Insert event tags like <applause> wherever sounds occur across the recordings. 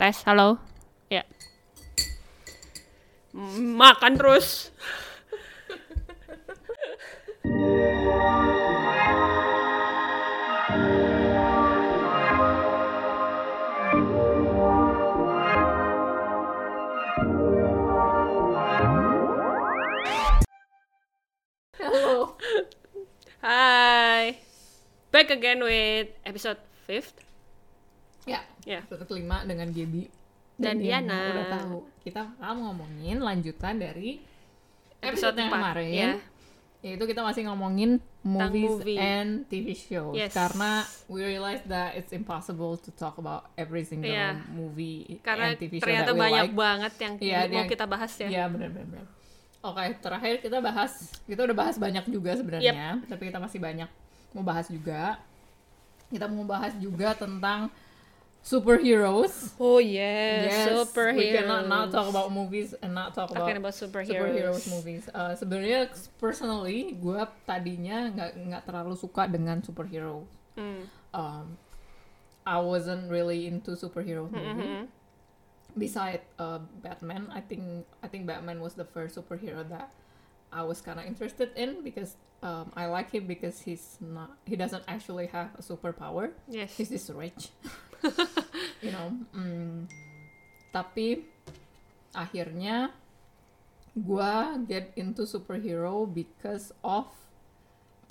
Tes, halo. Ya. M- Makan terus. Halo. Hai. Back again with episode 5th. Ya. <laughs> Ya. Episode kelima dengan Gaby Dan Diana. Udah tahu. Kita bakal ngomongin lanjutan dari episode, yang empat. kemarin. Ya. Yaitu kita masih ngomongin movies movie. and TV shows. Yes. Karena we realized that it's impossible to talk about every single Iya. movie Karena and TV show ternyata that we banyak like. banget yang Iya, mau yang- kita bahas ya. Iya benar-benar. Oke terakhir kita bahas kita udah bahas banyak juga sebenarnya, tapi kita masih banyak mau bahas juga. Kita mau bahas juga tentang superheroes. Oh yes, superheroes. We cannot not talk about movies and not talk about, Talking about superheroes. superheroes movies. Eh, sebenarnya personally gue tadinya nggak nggak terlalu suka dengan superhero. Hmm. Um, I wasn't really into superhero Mhm. movie beside uh, Batman, I think I think Batman was the first superhero that I was kind of interested in because um, I like him because he's not he doesn't actually have a superpower. Yes. He's just rich, you know. Mm. Tapi akhirnya gua get into superhero because of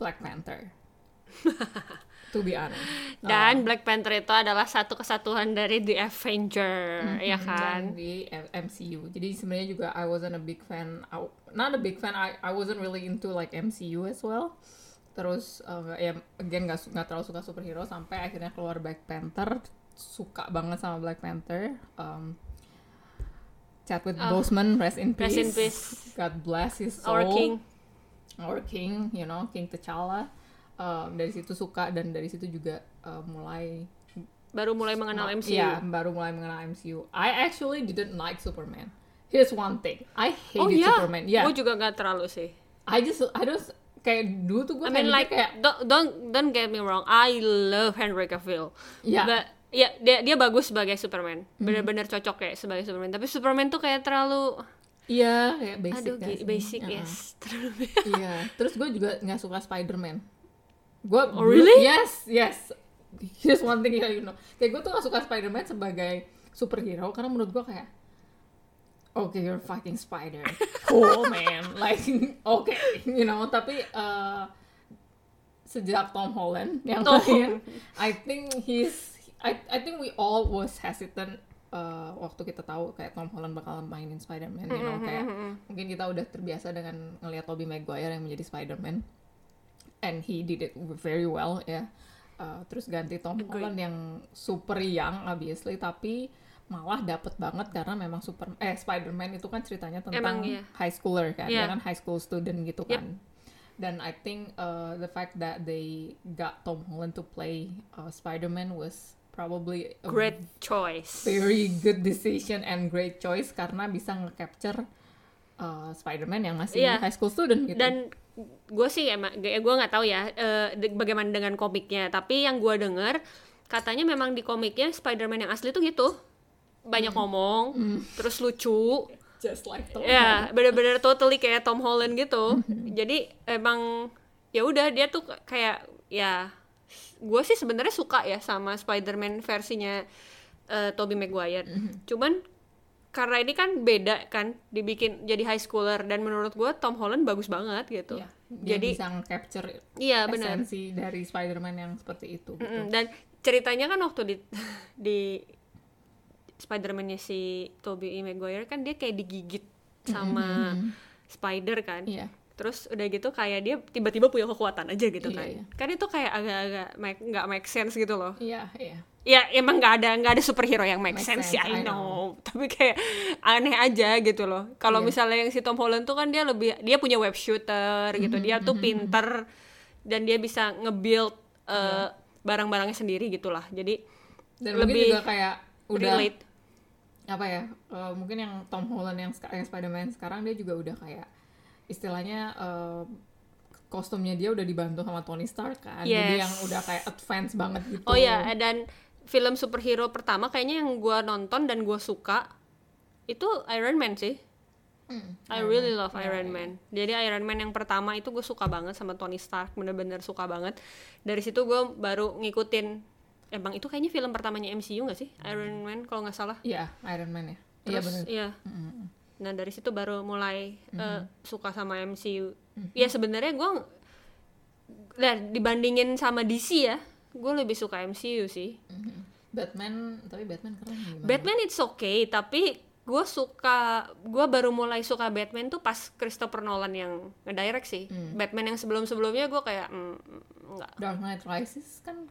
Black Panther. to be honest. Uh, Dan Black Panther itu adalah satu kesatuan dari The Avenger, Mm-hmm. ya kan? Dan di M- MCU. Jadi sebenarnya juga I wasn't a big fan. I, not a big fan. I I wasn't really into like MCU as well. Terus uh, ya again nggak su- nggak terlalu suka superhero sampai akhirnya keluar Black Panther suka banget sama Black Panther. Um, Chadwick Oh. Boseman rest in peace. Rest in peace. God bless his soul. Our King. Our King, you know, King T'Challa. Um, dari situ suka dan dari situ juga uh, mulai baru mulai mengenal MCU. Iya, baru mulai mengenal MCU. I actually didn't like Superman. Here's one thing. I hated Oh iya, Superman. Yeah. gue juga nggak terlalu sih. I just I just kayak dulu tuh gue I mean kayak like kayak don't don't don't get me wrong, I love Henry Cavill. ya But ya dia dia bagus sebagai Superman. Mhm. Bener-bener cocok kayak sebagai Superman. Tapi Superman tuh kayak terlalu iya kayak basic aduh gak gi- sih? basic Uh-uh. yes. <laughs> Terlalu Iya. Terus gue juga nggak suka Spider-Man. Gue Oh, really? Yes, yes. Here's one thing that you know. Kayak gue tuh gak suka Spider-Man sebagai superhero karena menurut gue kayak Okay, you're fucking spider. Cool, man. Like, <laughs> okay, you know. Tapi eh, sejak Tom Holland yang Tom. terakhir, I think he's, I, I think we all was hesitant eh, waktu kita tahu kayak Tom Holland bakal mainin Spider-Man, you know, kayak mungkin kita udah terbiasa dengan ngelihat Tobey Maguire yang menjadi Spider-Man, and he did it very well, ya. Eh, terus ganti Tom Agree. Holland yang super young, obviously, tapi malah dapet banget karena memang super eh Spider-Man itu kan ceritanya tentang Emang, iya. high schooler kan, Iya. dia kan high school student gitu Yep. kan. Dan I think uh, the fact that they got Tom Holland to play uh, Spider-Man was probably a great choice. very good decision and great choice karena bisa nge-capture uh, Spider-Man yang masih Iya. high school student gitu. Dan gue sih emang gue nggak tahu ya eh, de- bagaimana dengan komiknya. Tapi yang gue denger katanya memang di komiknya Spider-Man yang asli tuh gitu Mhm. banyak ngomong, terus lucu, just like Tom Mm-hmm. ya bener-bener totally kayak Tom Holland gitu jadi emang ya udah dia tuh kayak ya gue sih sebenarnya suka ya sama Spider-Man versinya eh, Tobey Maguire Mm-hmm. cuman karena ini kan beda kan dibikin jadi high schooler dan menurut gue Tom Holland bagus banget gitu Iya. Dia jadi bisa nge-capture iya benar esensi dari Spider-Man yang seperti itu. gitu. Mm-mm, dan ceritanya kan waktu di <laughs> di Spider-Man-nya si Tobey Maguire kan dia kayak digigit sama Mm-hmm. spider kan. Iya. Terus udah gitu kayak dia tiba-tiba punya kekuatan aja gitu Iya, kan. iya. Kan itu kayak agak-agak make- nggak make sense gitu loh. Iya, iya. Ya emang nggak ada nggak ada superhero yang make, Make sense, sense, ya I I know. <laughs> Tapi kayak aneh aja gitu loh. Kalau Iya. misalnya yang si Tom Holland tuh kan dia lebih dia punya web shooter gitu. Mm-hmm, Dia tuh pinter dan dia bisa nge-build Iya. eh, barang-barangnya sendiri gitulah. Jadi Dan Lebih mungkin juga kayak udah relate. apa ya eh, mungkin yang Tom Holland yang, seka- yang Spider-Man sekarang dia juga udah kayak istilahnya eh, kostumnya dia udah dibantu sama Tony Stark kan jadi Yes. yang udah kayak advance banget gitu Oh ya, Oh dan film superhero pertama kayaknya yang gua nonton dan gua suka itu Iron Man sih. Hmm. I really love Iron Man. Jadi Iron Man yang pertama itu gue suka banget sama Tony Stark, bener-bener suka banget. Dari situ gue baru ngikutin, emang itu kayaknya film pertamanya MCU gak sih Iron Man kalau nggak salah. Iya, Iron Man ya. Iya Terus benar. iya. Nah dari situ baru mulai eh, suka sama MCU. Ya sebenarnya gue, nah dibandingin sama DC ya, gue lebih suka MCU sih. Batman, tapi Batman keren gimana? Batman it's okay, tapi gue suka gue baru mulai suka Batman tuh pas Christopher Nolan yang ngedirect sih. Hmm. Batman yang sebelum sebelumnya gue kayak mm, enggak. Dark Knight Rises kan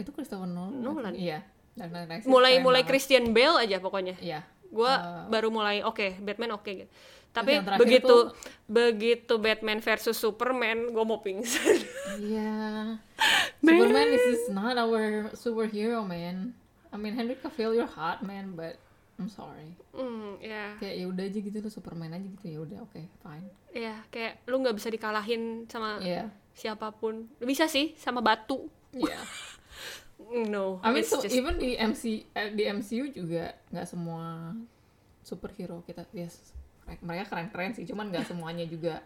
itu Christopher Nolan. Nolan. Iya. Dark Knight Rises. Mulai keren mulai banget. Christian Bale aja pokoknya. Iya. Gue baru mulai oke Batman oke gitu. Tapi yang terakhir begitu tuh- begitu Batman versus Superman gue mau pingsan. <laughs> Iya. Superman is is not our superhero man. I mean Henry Cavill you're hot man but I'm sorry. Hmm, ya Kayak ya udah aja gitu lo Superman aja gitu ya udah oke fine. ya kayak lu nggak bisa dikalahin sama Iya. <laughs> siapapun. Bisa sih sama batu. Iya. No. I mean it's so just- even di MC eh, di MCU juga nggak semua superhero kita yes mereka keren-keren sih cuman <laughs> nggak semuanya juga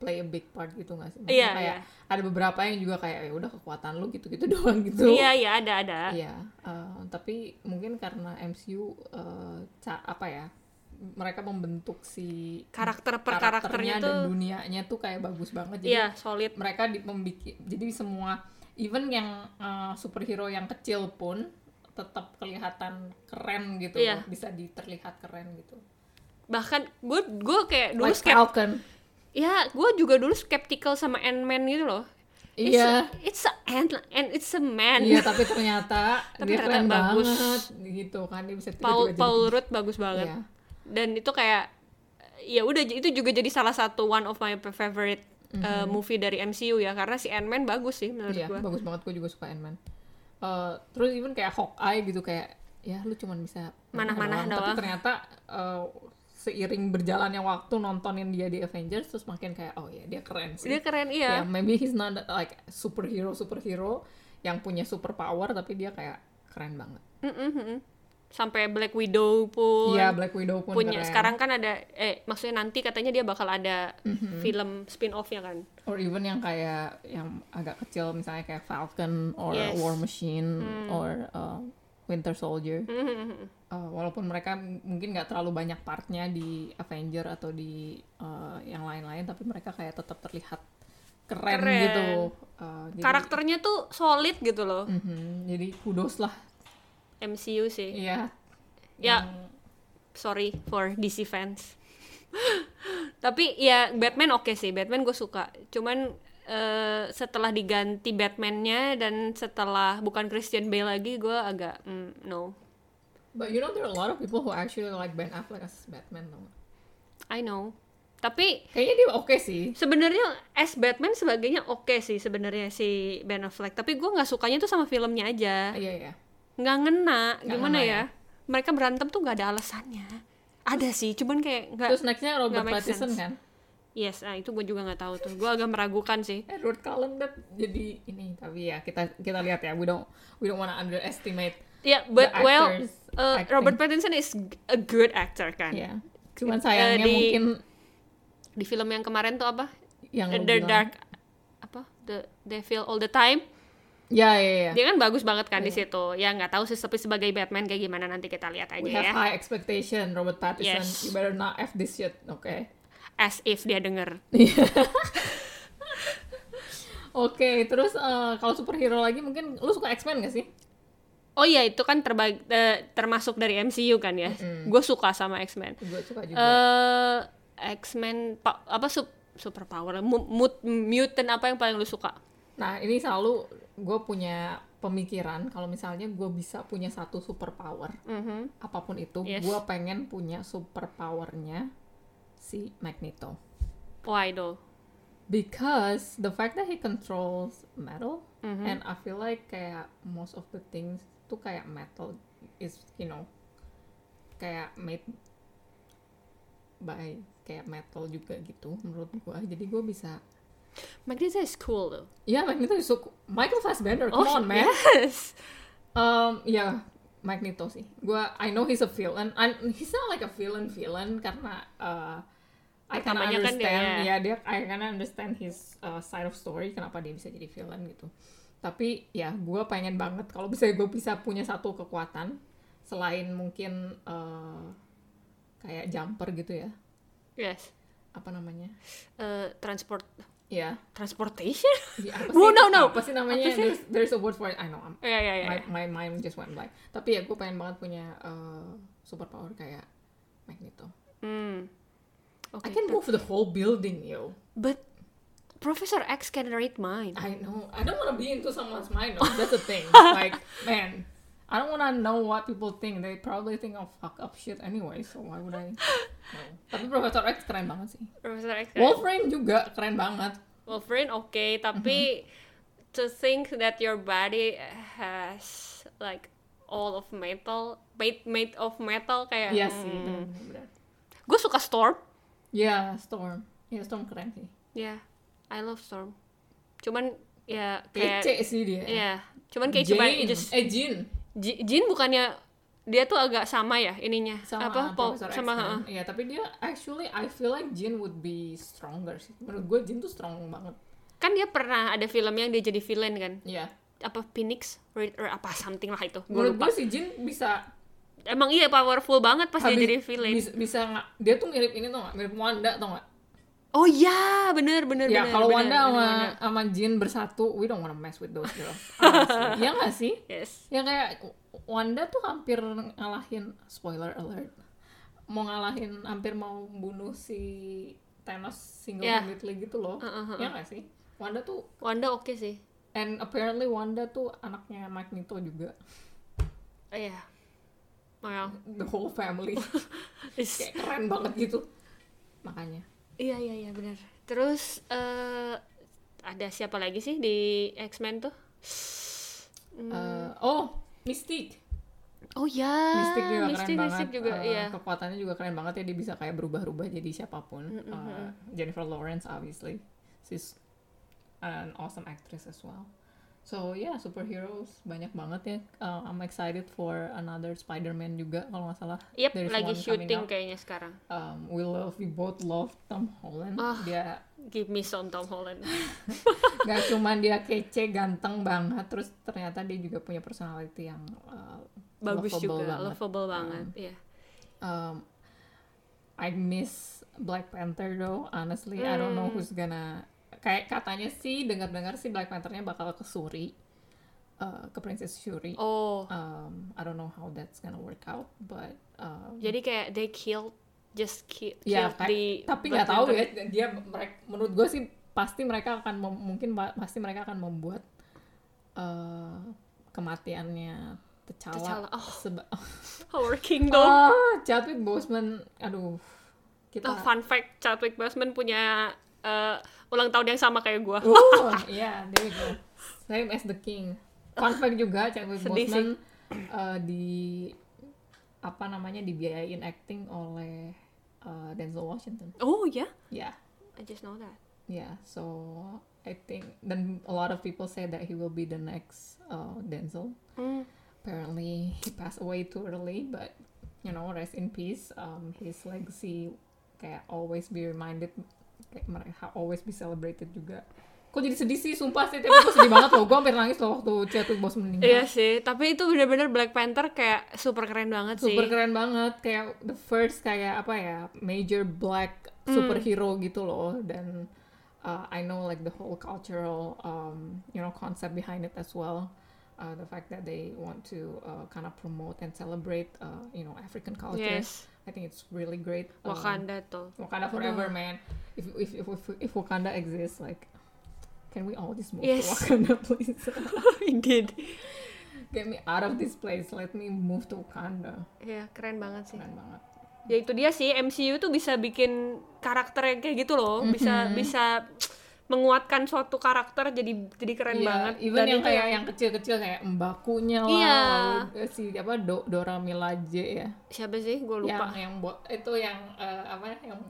play a big part gitu nggak sih Maksudnya Iya, iya. kayak ada beberapa yang juga kayak ya udah kekuatan lu gitu-gitu <laughs> doang gitu Iya iya ada ada. Iya, eh, tapi mungkin karena MCU eh, ca- apa ya? Mereka membentuk si Karakter per karakternya dan tuh- dunianya tuh kayak bagus banget. Jadi Iya solid. mereka di membiki- jadi semua even yang eh, superhero yang kecil pun tetap kelihatan keren gitu, Iya. bisa diterlihat keren gitu. bahkan gue gue kayak dulu Like skept Falcon. ya gue juga dulu skeptical sama Ant-Man gitu loh It's a- Iya. it's a ant and it's a man Iya, tapi ternyata Tapi dia ternyata keren bagus. banget gitu kan. Dia bisa <laughs> Paul tiba-tiba jadi- Paul Rudd bagus banget Iya. dan itu kayak ya udah itu juga jadi salah satu one of my favorite uh, movie dari MCU ya karena si Ant-Man bagus sih menurut Mhm. Iya, gue bagus banget. Gue juga suka Ant-Man. Eh, terus even kayak Hawkeye gitu kayak ya lu cuman bisa Manah-manah doang. Tapi doang. ternyata eh, seiring berjalannya waktu nontonin dia di Avengers terus makin kayak oh ya dia keren sih. dia keren iya Ya, maybe he's not like superhero superhero yang punya superpower tapi dia kayak keren banget. Mm-mm, mm-mm. sampai Black Widow pun Iya, Black Widow pun punya keren. sekarang kan ada eh maksudnya nanti katanya dia bakal ada Mhm. film spin offnya kan or even yang kayak yang agak kecil misalnya kayak Falcon or Yes. Hmm. War Machine or eh, Winter <laughs> Soldier. Mm-mm. Uh, walaupun mereka m- mungkin nggak terlalu banyak partnya di Avenger atau di uh, yang lain-lain tapi mereka kayak tetap terlihat keren, Keren. gitu Uh, jadi, karakternya tuh solid gitu loh Mhm, jadi kudos lah MCU sih. iya Ya, sorry for DC fans. <laughs> Tapi ya Batman oke sih, Batman gue suka. Cuman eh, setelah diganti Batmannya dan setelah bukan Christian Bale lagi, gue agak mm, no. but you know there are a lot of people who actually like Ben Affleck as Batman tau nggak? I know. Tapi kayaknya dia oke sih sebenarnya as Batman sebagainya oke sih sebenarnya si Ben Affleck. Tapi gue nggak sukanya tuh sama filmnya aja. iya iya Nggak ngena. Gimana ngena ya? Mereka berantem tuh nggak ada alasannya. Ada sih, cuman kayak nggak. terus nextnya nggak Robert make Pattinson sense. kan Yes, ah, itu gue juga nggak tahu tuh. Gue agak meragukan sih. Edward Cullen that jadi ini tapi ya kita kita lihat ya we don't we don't wanna underestimate Ya, but The well, actors uh, acting. Robert Pattinson is g- a good actor kan. ya Eh, cuman sayangnya di- mungkin Di film yang kemarin tuh apa? yang The lu Dark bilang- apa? The Devil All the Time. ya ya ya Dia kan bagus banget kan di situ. Ya nggak tahu sih tapi sebagai Batman kayak gimana nanti kita lihat aja We have ya. high expectation, Robert Pattinson. Yes. You better not f this shit, oke? <laughs> As if dia denger. Oke, terus eh, kalau superhero lagi mungkin lu suka X-Men gak sih? Oh iya, itu kan terbag- eh, termasuk dari MCU kan ya. Gue suka sama X-Men. Gue suka juga. Eh X-Men pa- apa sup- superpower mu- mut- mutant apa yang paling lu suka? nah, ini selalu gue punya pemikiran kalau misalnya gue bisa punya satu superpower, Mhm. apapun itu, Yes. gue pengen punya superpowernya si Magneto. Why though? Because the fact that he controls metal, Mhm. and I feel like kayak most of the things tuh kayak metal is you know kayak made by kayak metal juga gitu menurut gua. Jadi gua bisa Magneto is cool though. Oh, Ya Magneto is so cool. Michael Fassbender, come on man. yes. <laughs> Um, ya Magneto sih. Gua I know he's a villain. I, he's not like a villain villain karena uh, I can Pertamanya kan understand. dia, ya dia I can understand his uh, side of story kenapa dia bisa jadi villain gitu. Tapi ya gua pengen banget kalau bisa gue bisa punya satu kekuatan selain mungkin uh, kayak jumper gitu ya Yes. apa namanya Eh, transport ya transportation? <laughs> Ya, apa No, no, no. Apa sih namanya? Apa sih? There's, there's a word for it. I know. I'm, ya ya ya. ya. my, my mind just went blank. Tapi ya gue pengen banget punya uh, superpower kayak Magneto. Hmm. I Oke. can move the whole building, yo. But Professor X can read mind. I know. I don't want to be into someone's mind. though. That's the thing. like, man, I don't want to know what people think. They probably think I'll fuck up shit anyway. So why would I? No. Tapi Profesor X keren banget sih. Professor X. Kan? Wolverine juga keren banget. Wolverine oke, tapi to think that your body has like all of metal, made made of metal kayak. Iya sih, hmm. benar-benar. Gue suka Storm. Ya, Storm. Ya, Storm keren sih. Ya, I love Storm. Cuman ya kayak Kece sih dia. ya, cuman kece banget Jane. just eh Jin Ji- Jin bukannya dia tuh agak sama ya ininya sama apa po- Profesor X sama kan? ha-ha. Iya, tapi dia actually I feel like Jin would be stronger sih. Menurut gue Jin tuh strong banget. kan dia pernah ada film yang dia jadi villain kan Iya. apa Phoenix Re- or apa something lah itu gue Menurut lupa gue si Jin bisa emang iya powerful banget pas dia habis- jadi villain Bisa, bisa nggak- dia tuh mirip ini tau gak? Mirip Wanda tau gak? oh ya bener bener Ya, bener, kalau bener, Wanda bener, sama, bener. sama Jin bersatu, we don't wanna mess with those <laughs> girls. Honestly. Iya gak sih? yes Ya kayak Wanda tuh hampir ngalahin spoiler alert. Mau ngalahin hampir mau bunuh si Thanos single-handedly gitu loh. Iya Uh-uh-uh. gak sih? Wanda tuh Wanda oke sih and apparently Wanda tuh anaknya Magneto juga. Oh, iya Oh, ya. Well, The whole <laughs> family. it's- Kayak keren banget gitu. Makanya. iya iya iya benar terus eh ada siapa lagi sih di X Men tuh Hmm. Eh, oh, Mystique. oh ya Mystique juga Mystic keren Mystic banget. juga Eh, iya Kekuatannya juga keren banget ya dia bisa kayak berubah-ubah jadi siapapun. Hmm, Eh, Jennifer Lawrence obviously. She's an awesome actress as well. So yeah, superheroes banyak banget ya. Eh, I'm excited for another Spider-Man juga kalau nggak salah. Yep, There's lagi one coming syuting up. kayaknya sekarang. Um, we love, we both love Tom Holland. Ah. Dia Give me some Tom Holland. <laughs> Gak cuman dia kece, ganteng banget, terus ternyata dia juga punya personality yang uh, Bagus juga, lovable banget. Ah. lovable banget. Iya. Um, I miss Black Panther though, honestly, I don't know who's gonna kayak katanya sih dengar-dengar sih Black Panther-nya bakal ke Suri, uh, ke Princess Shuri. Oh, Um, I don't know how that's gonna work out, but um, jadi kayak they killed just ki- ya killed kayak- the tapi Black nggak tahu Panther. ya dia mereka menurut gue sih pasti mereka akan mem- mungkin ba- pasti mereka akan membuat eh, kematiannya T'Challa, T'Challa oh. seba- <laughs> <laughs> Our Kingdom. Ah, Chadwick Boseman aduh kita Oh, fun fact, Chadwick Boseman punya eh, ulang tahun yang sama kayak gua. Oh, yeah, there we go. Same as the king. Fun fact juga, Chadwick Sedih sih. Boseman eh, di apa namanya dibiayain acting oleh eh, Denzel Washington. Oh ya, Ya, I just know that. Yeah, so I think then a lot of people say that he will be the next uh, Denzel. Hmm. Apparently, he passed away too early, but you know, rest in peace. Um, his legacy kayak always be reminded, kayak mereka always be celebrated juga. Kok jadi sedih sih, sumpah sih, tapi gue sedih banget loh. Gue hampir nangis loh waktu Chadwick bos meninggal. Iya sih, tapi itu bener-bener Black Panther kayak super keren banget sih. Super keren banget, kayak the first kayak apa ya, major black Hmm. superhero gitu loh. Dan uh, I know like the whole cultural um, you know concept behind it as well. Uh, the fact that they want to uh, kind of promote and celebrate uh, you know African culture. Yes, I think it's really great. Um, Wakanda <laughs> tuh. Wakanda forever, man. If, if if if if Wakanda exists, like can we all just move Yes. to Wakanda, <laughs> please? Indeed. Get me out of this place. Let me move to Wakanda. Iya, keren banget sih. Keren banget. ya itu dia sih MCU tuh bisa bikin karakter yang kayak gitu loh bisa bisa menguatkan suatu karakter jadi jadi keren Iya, banget even Dan yang itu ya, kayak yang kecil-kecil kayak mbakunya lah, Iya. lalu si apa Do- Dora Milaje ya, siapa sih gue lupa yang yang bo- itu yang eh, apa ya, yang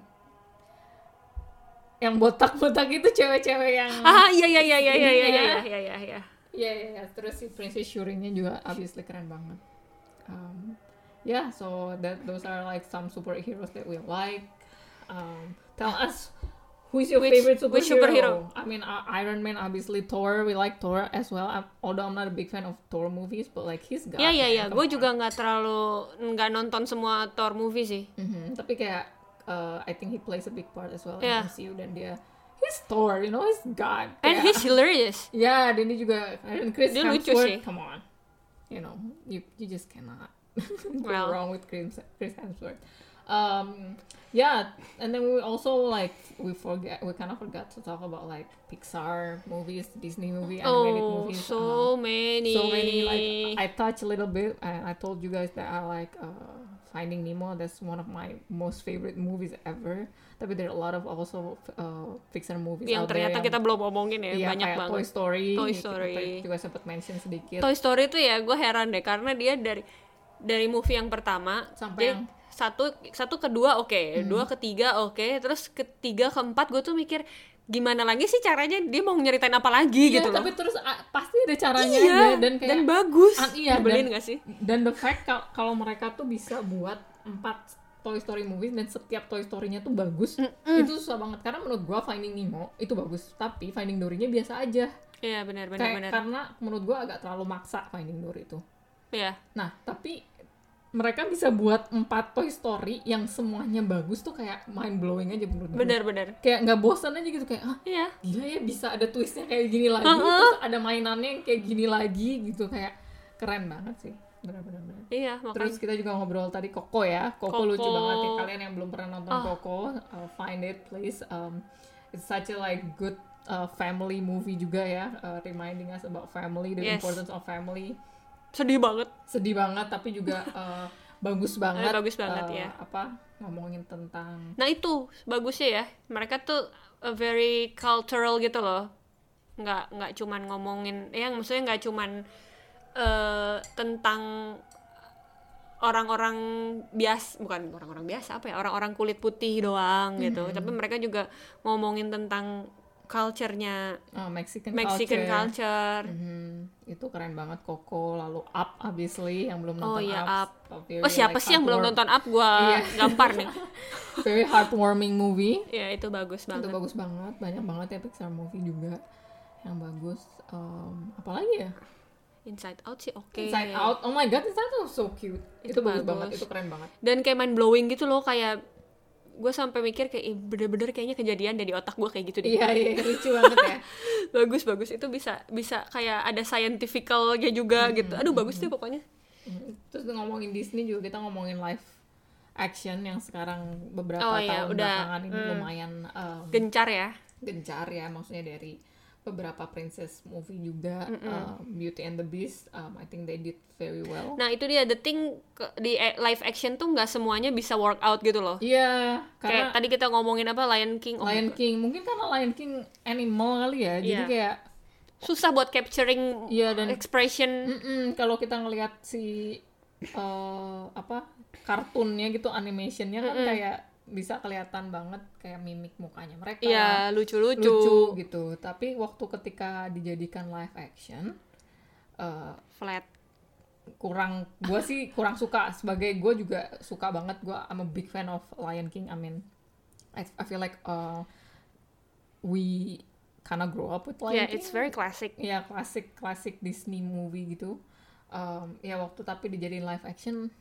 yang botak-botak itu cewek-cewek yang <laughs> ah iya iya iya iya iya Ini iya ya. iya iya iya Iya iya iya. Terus si Princess Shuri-nya juga obviously keren banget. Um, yeah, so that those are like some superheroes that we like. Um, tell us who's your Which- favorite superhero? which superhero? I mean, uh, Iron Man obviously Thor. We like Thor as well. I'm, although I'm not a big fan of Thor movies, but like he's got. Iya iya man, iya, come gue on. juga nggak terlalu nggak nonton semua Thor movie sih. Mhm, Tapi kayak uh, I think he plays a big part as well Yeah. in MCU dan dia he's Thor, you know, he's God. And Kayak- he's <laughs> hilarious. Yeah, dan dia juga dan Chris Dia Hemsworth, lucu sih. come on. You know, you you just cannot <laughs> go Well. wrong with Chris, Chris Hemsworth. Um, yeah, and then we also like we forget we kind of forgot to talk about like Pixar movies, Disney movie, Ya, animated Oh, movies. so many. uh, so many. Like I touch a little bit, and I told you guys that I like uh, Finding Nemo. That's one of my most favorite movies ever. Tapi there are a lot of also uh, Pixar movies yang out there ternyata yang- kita belum omongin ya, Iya, banyak kayak banget. Toy Story. Toy ya, kita Story. tadi juga sempat mention sedikit. Toy Story tuh ya gue heran deh karena dia dari dari movie yang pertama Sampai dia yang- Hmm. satu satu kedua oke dua ketiga oke terus ketiga keempat gue tuh mikir gimana lagi sih caranya dia mau nyeritain apa lagi Iya, gitu loh tapi terus ah, pasti ada caranya iya aja, dan kayak bagus Ah, iya, Nyebelin dan- nggak sih dan the fact kal- kalau mereka tuh bisa buat empat Toy Story movies dan setiap Toy Story-nya tuh bagus. Itu susah banget karena menurut gua Finding Nemo itu bagus, tapi Finding Dory-nya biasa aja. iya benar benar Kayak kan benar karena menurut gua agak terlalu maksa Finding Dory itu. iya Nah, tapi mereka bisa buat empat Toy Story yang semuanya bagus tuh kayak mind blowing aja menurut gua. benar benar Kayak nggak bosan aja gitu kayak "Ah, iya gila ya bisa ada twistnya kayak gini lagi Heeh. terus ada mainannya yang kayak gini lagi gitu kayak keren banget sih benar-benar iya makanya terus kita juga ngobrol tadi Koko ya Koko, Coco. lucu banget ya kalian yang belum pernah nonton Ah. Koko uh, find it please um, it's such a like good uh, family movie juga ya uh, reminding us about family the Yes. importance of family sedih banget sedih banget tapi <laughs> juga uh, bagus banget Eh, bagus banget, uh, ya. apa ngomongin tentang Nah itu bagusnya ya, mereka tuh a very cultural gitu loh, nggak nggak cuman ngomongin, ya maksudnya nggak cuman eh, tentang orang-orang bias, bukan orang-orang biasa apa ya, orang-orang kulit putih doang gitu, Hmm. tapi mereka juga ngomongin tentang culture-nya uh, Mexican, Mexican culture. culture. Mhm, itu keren banget Koko lalu Up obviously yang belum Oh, nonton iya, Up. very, Oh siapa like, sih yang belum heartwarm- nonton up? Gua Iya. gampar <laughs> nih. very heartwarming movie Ya itu bagus itu banget. bagus banget banyak banget ya Pixar movie juga yang bagus Em, apalagi ya Inside Out sih oke. Inside Out oh my god Inside Out so cute itu, Itu bagus. bagus, banget itu keren banget dan kayak mind blowing gitu loh kayak gue sampai mikir kayak "Ih, bener-bener kayaknya kejadian dari otak gue kayak gitu deh iya iya lucu banget ya <laughs> <laughs> bagus bagus itu bisa bisa kayak ada scientificalnya Hmm. juga gitu aduh bagus deh pokoknya Mhm. terus ngomongin Disney juga kita ngomongin live action yang sekarang beberapa Oh, iya, tahun udah. belakangan ini lumayan em, gencar ya gencar ya maksudnya dari beberapa princess movie juga um, Beauty and the Beast um, I think they did very well nah itu dia the thing ke- di e- live action tuh nggak semuanya bisa work out gitu loh iya kayak karena tadi kita ngomongin apa Lion King oh my Lion God. King mungkin karena Lion King animal kali ya jadi Iya. kayak susah buat capturing Iya, dan- Hmm, expression mm-mm, kalau kita ngelihat si eh, apa kartunnya gitu animationnya kan kayak bisa kelihatan banget kayak mimik mukanya mereka Iya lucu-lucu lucu gitu tapi waktu ketika dijadikan live action eh, flat kurang gue sih kurang suka sebagai gue juga suka banget gue I'm a big fan of Lion King I mean I, I feel like uh, we kinda grow up with Lion ya King it's very classic ya klasik klasik Disney movie gitu Um, ya waktu tapi dijadiin live action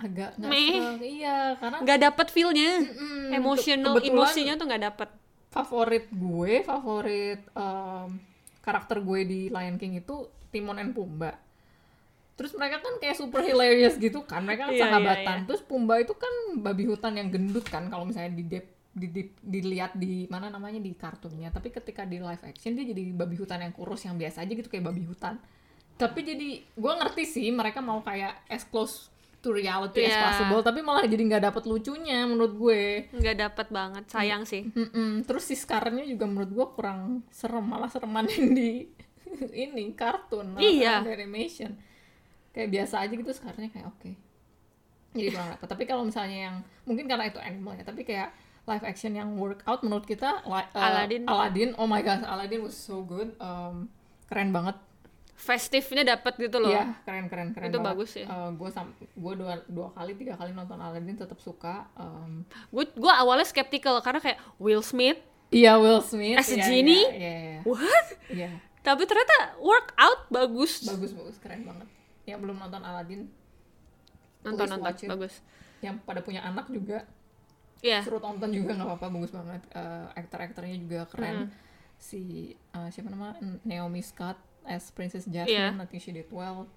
agak nggak Meh. serang. iya karena nggak dapet feelnya mm, emotional kebetulan emosinya tuh nggak dapet favorit gue favorit um, karakter gue di Lion King itu Timon and Pumba terus mereka kan kayak super hilarious gitu kan mereka Iya, kan iya, sahabatan iya. terus Pumba itu kan babi hutan yang gendut kan kalau misalnya di dep- di, di- dilihat di mana namanya di kartunnya tapi ketika di live action dia jadi babi hutan yang kurus yang biasa aja gitu kayak babi hutan tapi jadi gue ngerti sih mereka mau kayak as close to reality as Iya. possible tapi malah jadi nggak dapet lucunya menurut gue nggak dapet banget Hmm. sayang sih Mm-mm. Terus si sekarangnya juga menurut gua kurang serem, malah sereman yang di <laughs> ini kartun, malah Iya. sereman di animation. Kayak biasa aja gitu sekarangnya kayak oke. Jadi Iya. kurang dapet. Tapi kalau misalnya yang mungkin karena itu animal ya, tapi kayak live action yang workout menurut kita li- uh, Aladdin. Aladdin, oh my god, Aladdin was so good, Um, keren banget. festifnya dapat gitu loh. Iya, keren keren keren. Itu banget. bagus ya. Eh, gue sam, gue dua dua kali tiga kali nonton Aladdin tetap suka. um, Em, Gue gua awalnya skeptical karena kayak Will Smith, Iya Will Smith. As a iya, genie? Iya iya. iya. what? Iya, Tapi ternyata workout bagus. bagus bagus keren banget. Yang belum nonton Aladdin, nonton please nonton watch it. bagus. yang pada punya anak juga Iya. suruh tonton juga nggak apa-apa bagus banget. Eh, Aktor-aktornya juga Hmm. keren. Si eh, siapa nama Naomi Scott as Princess Jasmine, Iya. I think she did well.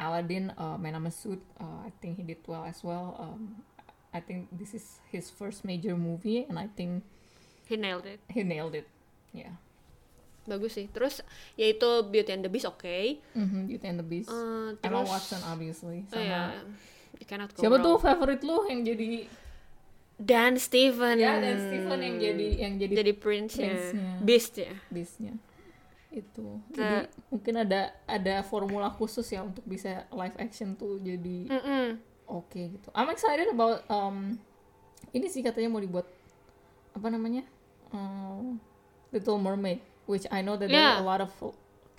Aladdin, uh, my name is Sud, uh, I think he did well as well. Um, I think this is his first major movie and I think He nailed it. he nailed it. Yeah. Bagus sih. Terus yaitu Beauty and the Beast oke. Mhm, Beauty and the Beast. Eh, Emma terus Watson obviously. Oh Sama iya. You cannot go Siapa wrong. tuh favorit lu yang jadi Dan Steven. ya dan Steven yang jadi yang jadi, Hmm. jadi prince-nya. prince-nya. Beast ya. bisnya itu. Jadi Ter- mungkin ada ada formula khusus ya untuk bisa live action tuh jadi Mm-mm. oke gitu. I'm excited about um, ini sih katanya mau dibuat apa namanya um, Little Mermaid, which I know that there Yeah. are a lot of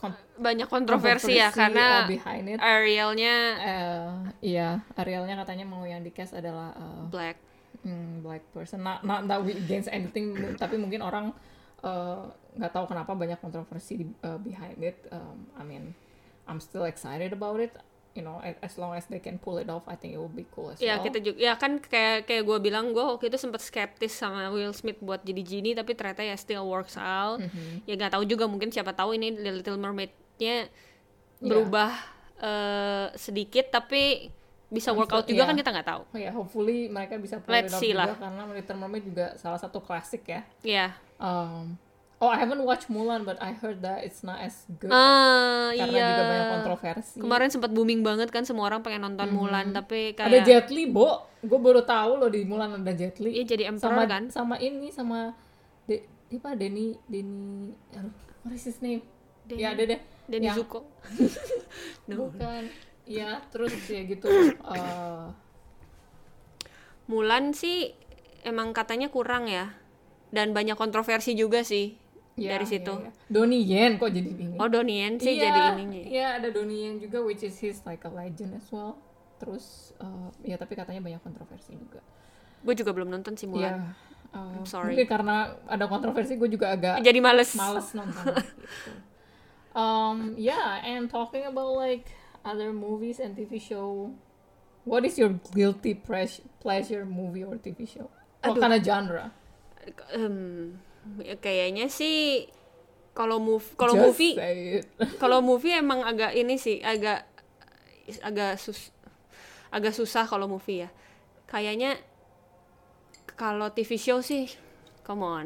con- Banyak Ya. kontroversi, ya controversy, uh, karena behind it. Arielnya Eh, iya, Arielnya katanya mau yang di cast adalah eh, black. hmm, black person not, not that we against anything mu- tapi mungkin orang eh, nggak tahu kenapa banyak kontroversi di- eh, behind it Um, I mean I'm still excited about it you know a- as long as they can pull it off I think it will be cool as Ya well kita juga ya kan kayak kayak gue bilang gue waktu itu sempat skeptis sama Will Smith buat jadi genie tapi ternyata ya still works out. Mm-hmm. Ya nggak tahu juga mungkin siapa tahu ini The Little Mermaid-nya Ya. berubah eh, sedikit tapi bisa I'm work out sure- juga iya. kan kita nggak tahu. oh ya hopefully mereka bisa pull Let's it off see juga lah. karena Little Mermaid juga salah satu klasik ya Ya. Um, oh I haven't watched Mulan but I heard that it's not as good Ah karena iya. juga banyak kontroversi Mm-hmm. Kemarin sempat booming banget kan semua orang pengen nonton Mulan tapi kayak ada Jet Li, Bo. Gue baru tahu loh di Mulan ada Jet Li. Iya, jadi sama, emperor kan? Sama ini, sama... De, apa? Denny... Denny... Aduh, what is his name? Denny- ya, ada deh. Denny Yang- Zuko. <laughs> No. Bukan. Ya, terus ya gitu. eh, Mulan sih emang katanya kurang ya dan banyak kontroversi juga sih ya, dari ya, situ. ya. Donnie Yen kok jadi ini. Oh Donien sih Iya, jadi ininya. Iya, ada Donnie Yen juga, which is his like a legend as well. Terus, eh, ya tapi katanya banyak kontroversi juga. Gue juga belum nonton sih Mulan. Iya. eh, sorry. Mungkin karena ada kontroversi, gue juga agak... Jadi males. males nonton gitu. Um, yeah, and talking about like other movies and TV show, what is your guilty pres- pleasure movie or TV show? What Aduh. kind of genre? Em, ya kayaknya sih kalau move kalau Just movie say it. kalau movie emang agak ini sih agak agak sus agak susah kalau movie ya. Kayaknya kalau TV show sih come on.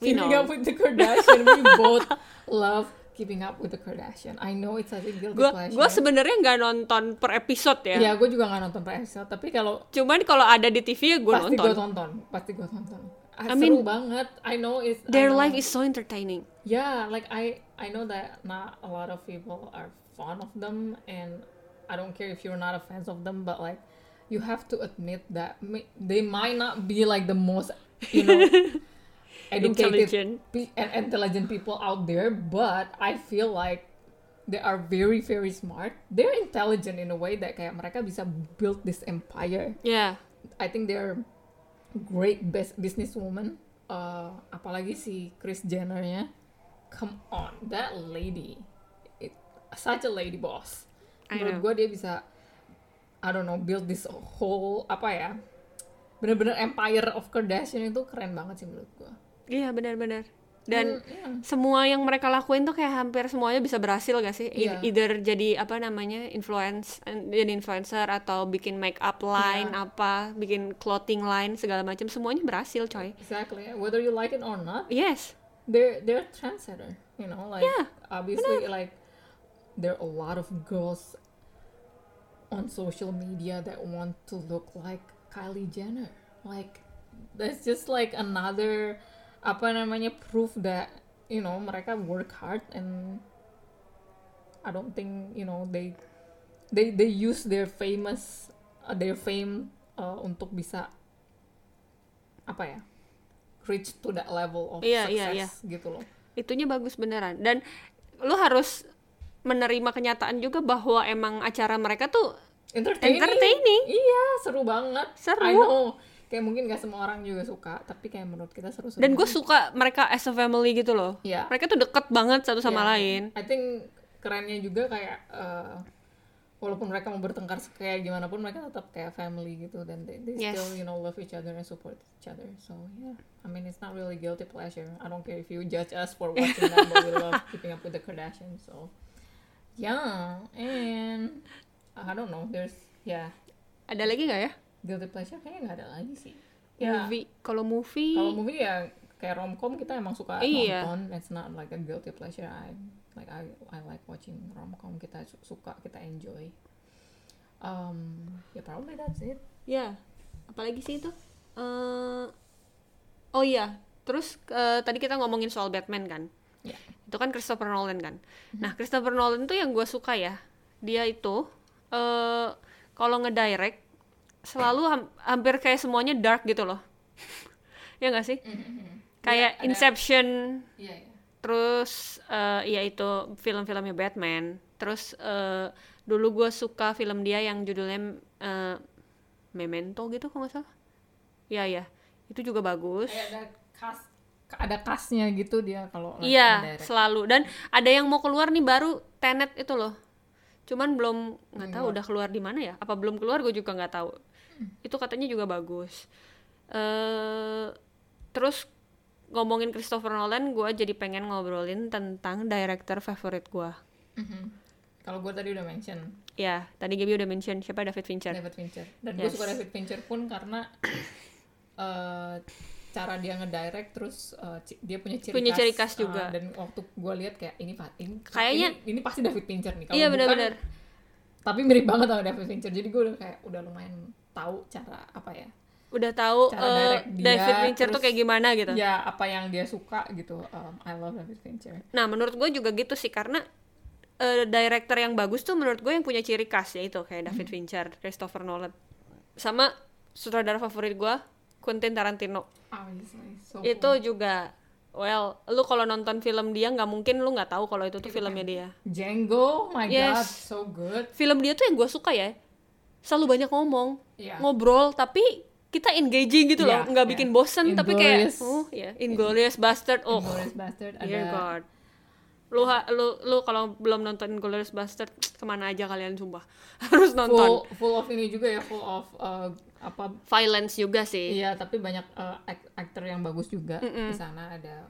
We Keeping know. up with the Kardashian. we both <laughs> love Keeping Up with the Kardashian. I know it's such a guilty Gue pleasure. gue sebenarnya nggak nonton per episode ya. ya, gue juga nggak nonton per episode, tapi kalau Cuman kalau ada di TV ya gue pasti gue nonton. tonton, pasti gue tonton. Ah, I mean, seru banget. I know it's I Their know. life is so entertaining. yeah like i i know that not a lot of people are fond of them and i don't care if you're not a fan of them but like you have to admit that ma- they might not be like the most you know educated Intelligent. pe- and intelligent people out there but i feel like they are very very smart they're intelligent in a way that kayak mereka bisa build this empire Ya, I think they're great best businesswoman. Uh, apalagi si Chris Jennernya. Come on, that lady, it, such a lady boss. I Menurut know. gue dia bisa, I don't know, build this whole apa ya? Bener-bener empire of Kardashian itu keren banget sih menurut Hmm, iya. gue. iya benar-benar. Dan semua yang mereka lakuin tuh kayak hampir semuanya bisa berhasil gak sih? I- Iya. Either jadi apa namanya influence, eh, jadi influencer atau bikin make up line Iya. apa, bikin clothing line segala macam semuanya berhasil coy. Exactly. Whether you like it or not, Yes, they're they're trendsetter you know like Yeah, obviously like there are a lot of girls on social media that want to look like Kylie Jenner like that's just like another apa namanya proof that you know mereka work hard and I don't think you know they they they use their famous uh, their fame uh, untuk bisa apa ya reach to that level of Iya, iya, success gitu loh itunya bagus beneran. Dan lu harus menerima kenyataan juga bahwa emang acara mereka tuh entertaining. Entertaining. Iya, seru banget. Seru. I know. Kayak mungkin gak semua orang juga suka, tapi kayak menurut kita seru. dan gue suka mereka as a family gitu loh. Iya. Mereka tuh deket banget satu sama Iya. lain. I think kerennya juga kayak eh, walaupun mereka mau bertengkar kayak gimana pun mereka tetap kayak family gitu dan they, they Yes. still you know love each other and support each other. So yeah, I mean it's not really guilty pleasure. I don't care if you judge us for watching that, <laughs> but we love keeping up with the Kardashians. So yeah, and I don't know. There's yeah Ada lagi nggak ya? guilty pleasure kayaknya nggak ada lagi sih. Ya Movie. Kalau movie, kalau movie ya kayak romcom kita emang suka Iya. nonton it's not like a guilty pleasure I like I I like watching romcom kita su- suka kita enjoy um yeah probably that's it ya. Apalagi sih itu? Eh, oh iya. Terus eh, tadi kita ngomongin soal Batman kan. yeah itu kan Christopher Nolan kan. Mhm. Nah Christopher Nolan tuh yang gue suka ya, dia itu eh kalau ngedirect selalu ham- hampir kayak semuanya dark gitu loh, <laughs> ya nggak sih? Kayak Mhm. Iya, ada- Inception, yeah yeah terus eh ya itu film-filmnya Batman, terus eh dulu gue suka film dia yang judulnya eh, Memento gitu kalau nggak salah, ya ya itu juga bagus. kayak ada kas ada kasnya gitu dia kalau like Iya, ngedirect. selalu. Dan ada yang mau keluar nih baru Tenet itu loh. Cuman belum nggak tahu udah keluar Hmm. di mana ya. Apa belum keluar gue juga nggak tahu. Itu katanya juga bagus. eh terus ngomongin Christopher Nolan, gue jadi pengen ngobrolin tentang director favorit gue. Mhm. kalau gue tadi udah mention Ya, tadi Gaby udah mention siapa David Fincher. David Fincher dan gue Yes. suka David Fincher pun karena <coughs> eh, cara dia ngedirect terus eh, ci- dia punya ciri Punya khas, ciri khas eh, juga. dan waktu gue lihat kayak ini pa- ini Kayaknya- ini, ini pasti David Fincher nih kalau Iya bukan- benar-benar. tapi mirip banget sama David Fincher jadi gue udah kayak udah lumayan tahu cara apa ya Udah tahu Cara eh, direct dia, David Fincher tuh terus- kayak gimana gitu. ya apa yang dia suka gitu Um, I love David Fincher Nah, menurut gue juga gitu sih karena eh, director yang bagus tuh menurut gue yang punya ciri khas yaitu kayak Hmm. David Fincher, Christopher Nolan, sama sutradara favorit gue Quentin Tarantino. obviously so Itu juga well, lu kalau nonton film dia nggak mungkin lu nggak tahu kalau itu Iya, tuh filmnya dia. Django oh my Yes. god so good Film dia tuh yang gue suka ya. Selalu banyak ngomong, Iya. ngobrol tapi kita engaging gitu Iya, loh, nggak iya. bikin bosen tapi kayak Inglorious. oh ya, Inglorious Bastard. Oh, Inglourious Bastard Dear ada God. Lu ha- lu lu kalau belum nonton Glorious Bastard kemana aja kalian sumpah <laughs> harus full nonton. full of ini juga ya full of uh, apa Violence juga sih. Iya, tapi banyak uh, ak- aktor yang bagus juga di sana ada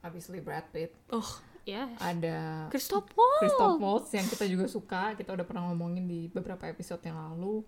obviously Brad Pitt, Oh, yes. ada Christoph Christoph Waltz. Waltz yang kita juga suka, kita udah pernah ngomongin di beberapa episode yang lalu.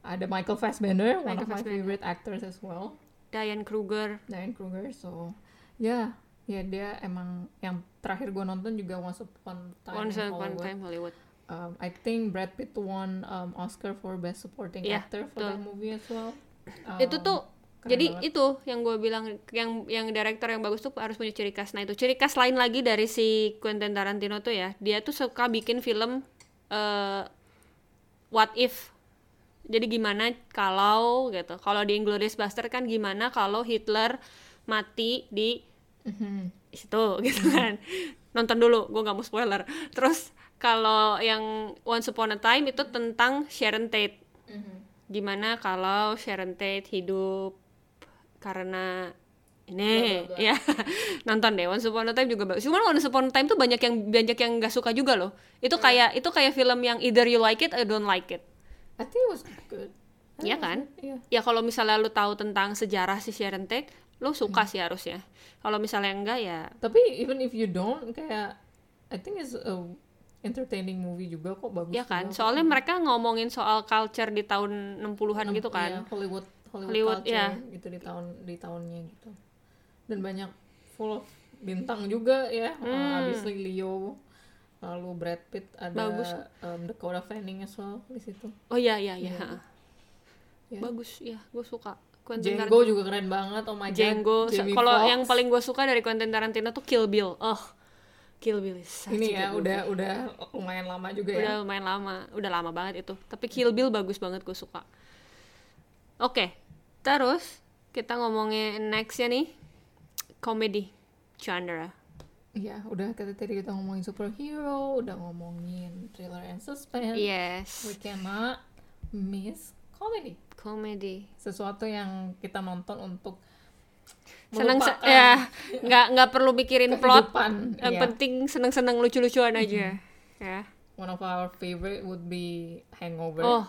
Ada Michael Fassbender, Mm-hmm. one Michael of my favorite actors as well, Diane Kruger. Diane Kruger. So, ya, ya dia emang yang terakhir gue nonton juga Once Upon a Time Once Upon in a Hollywood. Time Hollywood. Um, I think Brad Pitt won um, Oscar for Best Supporting Iya, Actor for betul. that movie as well. <clears throat> itu Um, tuh keren jadi banget. itu yang gue bilang yang yang director yang bagus tuh harus punya ciri khas. Nah, itu ciri khas lain lagi dari si Quentin Tarantino tuh ya. Dia tuh suka bikin film eh what if jadi gimana kalau gitu kalau di Inglourious Baster kan gimana kalau Hitler mati di Mhm. situ <laughs> gitu kan nonton dulu gue nggak mau spoiler terus kalau yang Once Upon a Time itu tentang Sharon Tate Mm-hmm. gimana kalau Sharon Tate hidup karena ini Bla, bla, bla. ya <laughs> nonton deh Once Upon a Time juga bagus cuman Once Upon a Time tuh banyak yang banyak yang nggak suka juga loh itu Iya. kayak itu kayak film yang either you like it or don't like it I think it was good. Iya I think it was kan? good, Iya. ya kalau misalnya lu tahu tentang sejarah si Sharon Tate lu Hmm. suka sih harusnya kalau misalnya enggak ya Tapi even if you don't kayak I think it's a entertaining movie juga kok bagus. ya kan juga. soalnya mereka ngomongin soal culture di tahun 60-an gitu Iya, kan Hollywood Hollywood, Hollywood, culture iya. gitu di tahun di tahunnya gitu. Dan banyak full of bintang juga ya. Hmm. Uh, obviously Leo lalu Brad Pitt ada Bagus. um, Dakota Fanning as well di situ. oh iya iya iya ha. Iya. bagus ya gue suka Quentin Django juga keren banget. Oh my god. Django Jamie kalau Foxx. yang paling gue suka dari Quentin Tarantino tuh Kill Bill oh Kill Bill is such ini a ya good movie. udah udah lumayan lama juga ya. udah lumayan lama udah lama banget itu tapi Kill Bill bagus banget gue suka oke terus kita ngomongin nextnya nih komedi genre Iya, udah tadi tadi kita ngomongin superhero, udah ngomongin thriller and suspense. Iya. Yes. We cannot miss comedy. Comedy. Sesuatu yang kita nonton untuk Seneng se- melupakan ya, nggak nggak perlu mikirin plot. kehidupan. Yang Iya. penting seneng-seneng lucu-lucuan aja. Ya. One of our favorite would be Hangover. Oh,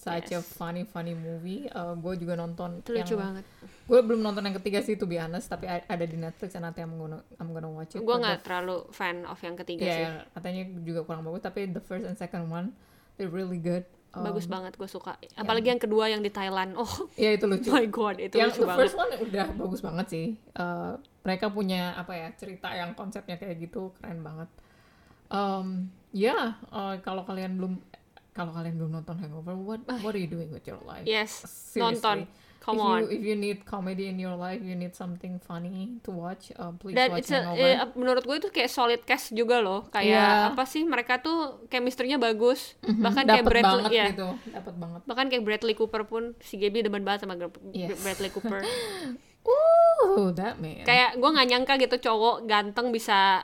Such a funny funny movie. gue juga nonton itu lucu banget. Gue belum nonton yang ketiga sih to be honest, tapi a- ada di Netflix and nanti I'm gonna, I'm gonna watch it. Gue But the nggak terlalu fan of yang ketiga Iya, sih. yang katanya juga kurang bagus, tapi the first and second one they're really good. Um, Bagus banget, gue suka. Apalagi yang kedua yang di Thailand. <laughs> Oh Ya itu lucu. my god, itu yang lucu the banget. first one udah bagus banget sih. Eh, mereka punya apa ya cerita yang konsepnya kayak gitu keren banget. Um, ya eh, kalau kalian belum kalau kalian belum nonton Hangover, what what are you doing with your life? Yes, Seriously. Iya, nonton. Come if on. You, if you need comedy in your life, you need something funny to watch, uh, please Dan watch it's a- Hangover. eh, menurut gue itu kayak solid cast juga loh. Kayak Iya. Mm-hmm. apa sih mereka tuh chemistry-nya bagus. Bahkan kayak Dapet Bradley banget ya. gitu, dapat banget. Bahkan kayak Bradley Cooper pun si Gaby demen banget sama Gra- Yes. Bradley <laughs> Cooper. Ooh, that man. kayak gue nggak nyangka gitu cowok ganteng bisa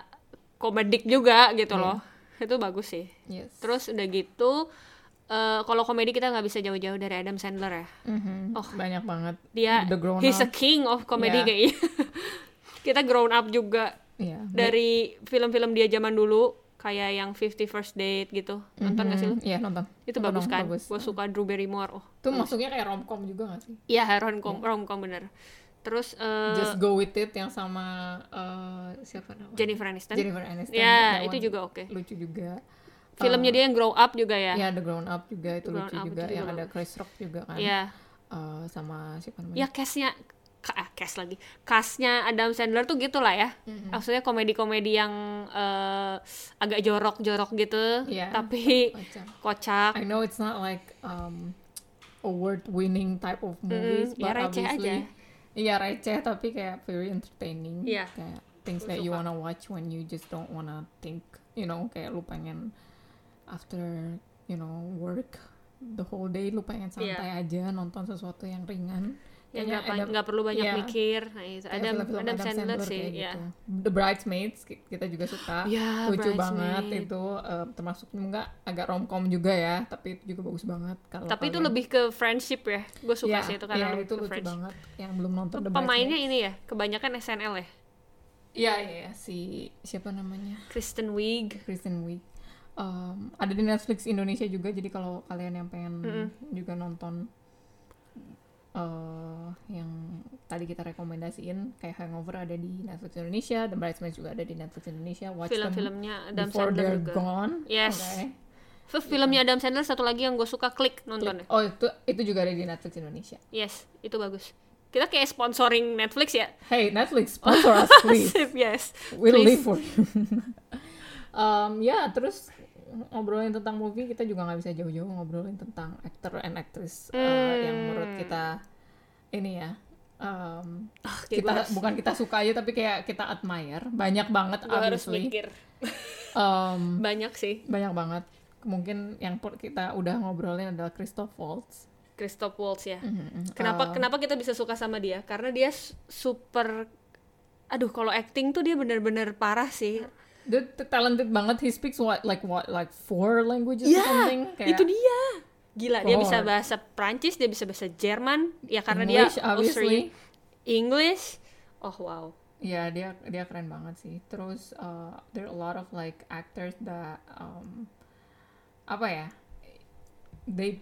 komedik juga Iya. gitu loh. Itu bagus sih. Yes. Terus udah gitu eh, kalau komedi kita nggak bisa jauh-jauh dari Adam Sandler ya. Mhm. banyak banget. Dia the grown he's a up. king of comedy Yeah. kayaknya. <laughs> kita grown up juga Iya. dari film-film dia zaman dulu kayak yang Fifty First Date gitu. Nonton nggak sih lu? Mhm. Iya, nonton. Itu Nonton, bagus kan? Bagus. Gue suka Drew Barrymore. Oh, Itu masuknya kayak romcom juga gak sih? iya <laughs> romcom romcom bener. Terus eh, Just Go With It yang sama eh, siapa namanya? Jennifer Aniston. Jennifer Aniston. Ya, That itu one Uh, juga oke. Lucu juga. Filmnya dia yang Grow Up juga ya. Ya, The Grown Up juga itu Grown lucu Up itu juga. juga Yang ada Chris Rock juga kan. Iya. Eh, sama siapa namanya? ya cast-nya ka- ah, cast lagi cast-nya Adam Sandler tuh gitulah ya Mm-hmm. maksudnya komedi-komedi yang eh, agak jorok-jorok gitu Iya. tapi Macam. kocak I know it's not like um, award-winning type of movies, ya but receh obviously, aja. iya receh tapi kayak very entertaining, Iya. kayak things Gua that you suka. wanna watch when you just don't wanna think, you know, kayak lu pengen after you know work the whole day lu pengen Iya. santai aja nonton sesuatu yang ringan. ya Kayaknya nggak pa- Adam- nggak perlu banyak iya, mikir nah, itu. kayak Adam, film-film Adam Sandler, sih kayak ya gitu. The Bridesmaids ki- kita juga suka. Ya, lucu Bridesmaid. banget itu eh, termasuk enggak agak romcom juga ya, tapi itu juga bagus banget kalau tapi itu kalian- lebih ke friendship ya gue suka Iya, sih itu karena iya, lebih itu ke lucu friendship banget yang belum nonton The pemainnya Bridesmaids. ini ya kebanyakan SNL ya Iya, iya, iya, si siapa namanya? Kristen Wiig Kristen Wiig. Um, ada di Netflix Indonesia juga jadi kalau kalian yang pengen juga nonton eh yang tadi kita rekomendasiin kayak Hangover ada di Netflix Indonesia, The Bridesmaids juga ada di Netflix Indonesia. Watch them film-filmnya Adam before Sandler they're juga gone. Yes. Oke. F- filmnya Adam Sandler satu lagi yang gue suka klik nontonnya Oh itu itu juga ada di Netflix Indonesia. Yes, itu bagus. Kita kayak sponsoring Netflix ya. Hey Netflix sponsor <laughs> us please. Sip, yes. We'll Please. live for you. <laughs> um, ya, terus ngobrolin tentang movie kita juga nggak bisa jauh-jauh ngobrolin tentang actor and actress uh, Hmm. yang menurut kita ini ya. um, Ah, kayak kita gua harus- bukan kita suka aja tapi kayak kita admire banyak banget gua harus obviously mikir Um, banyak sih. banyak banget mungkin yang per- kita udah ngobrolin adalah Christoph Waltz Christoph Waltz ya. Oh. Kenapa kenapa kita bisa suka sama dia? Karena dia s- super aduh kalau acting tuh dia bener-bener parah sih. dia t- talented banget he speaks what like what like four languages Ya, or something itu dia. Gila, dia bisa Lord. bahasa Prancis, dia bisa bahasa Jerman, ya karena English, dia obviously. Austrian. English. Oh wow. Ya dia dia keren banget sih. Terus uh, there are a lot of like actors that um, apa ya? They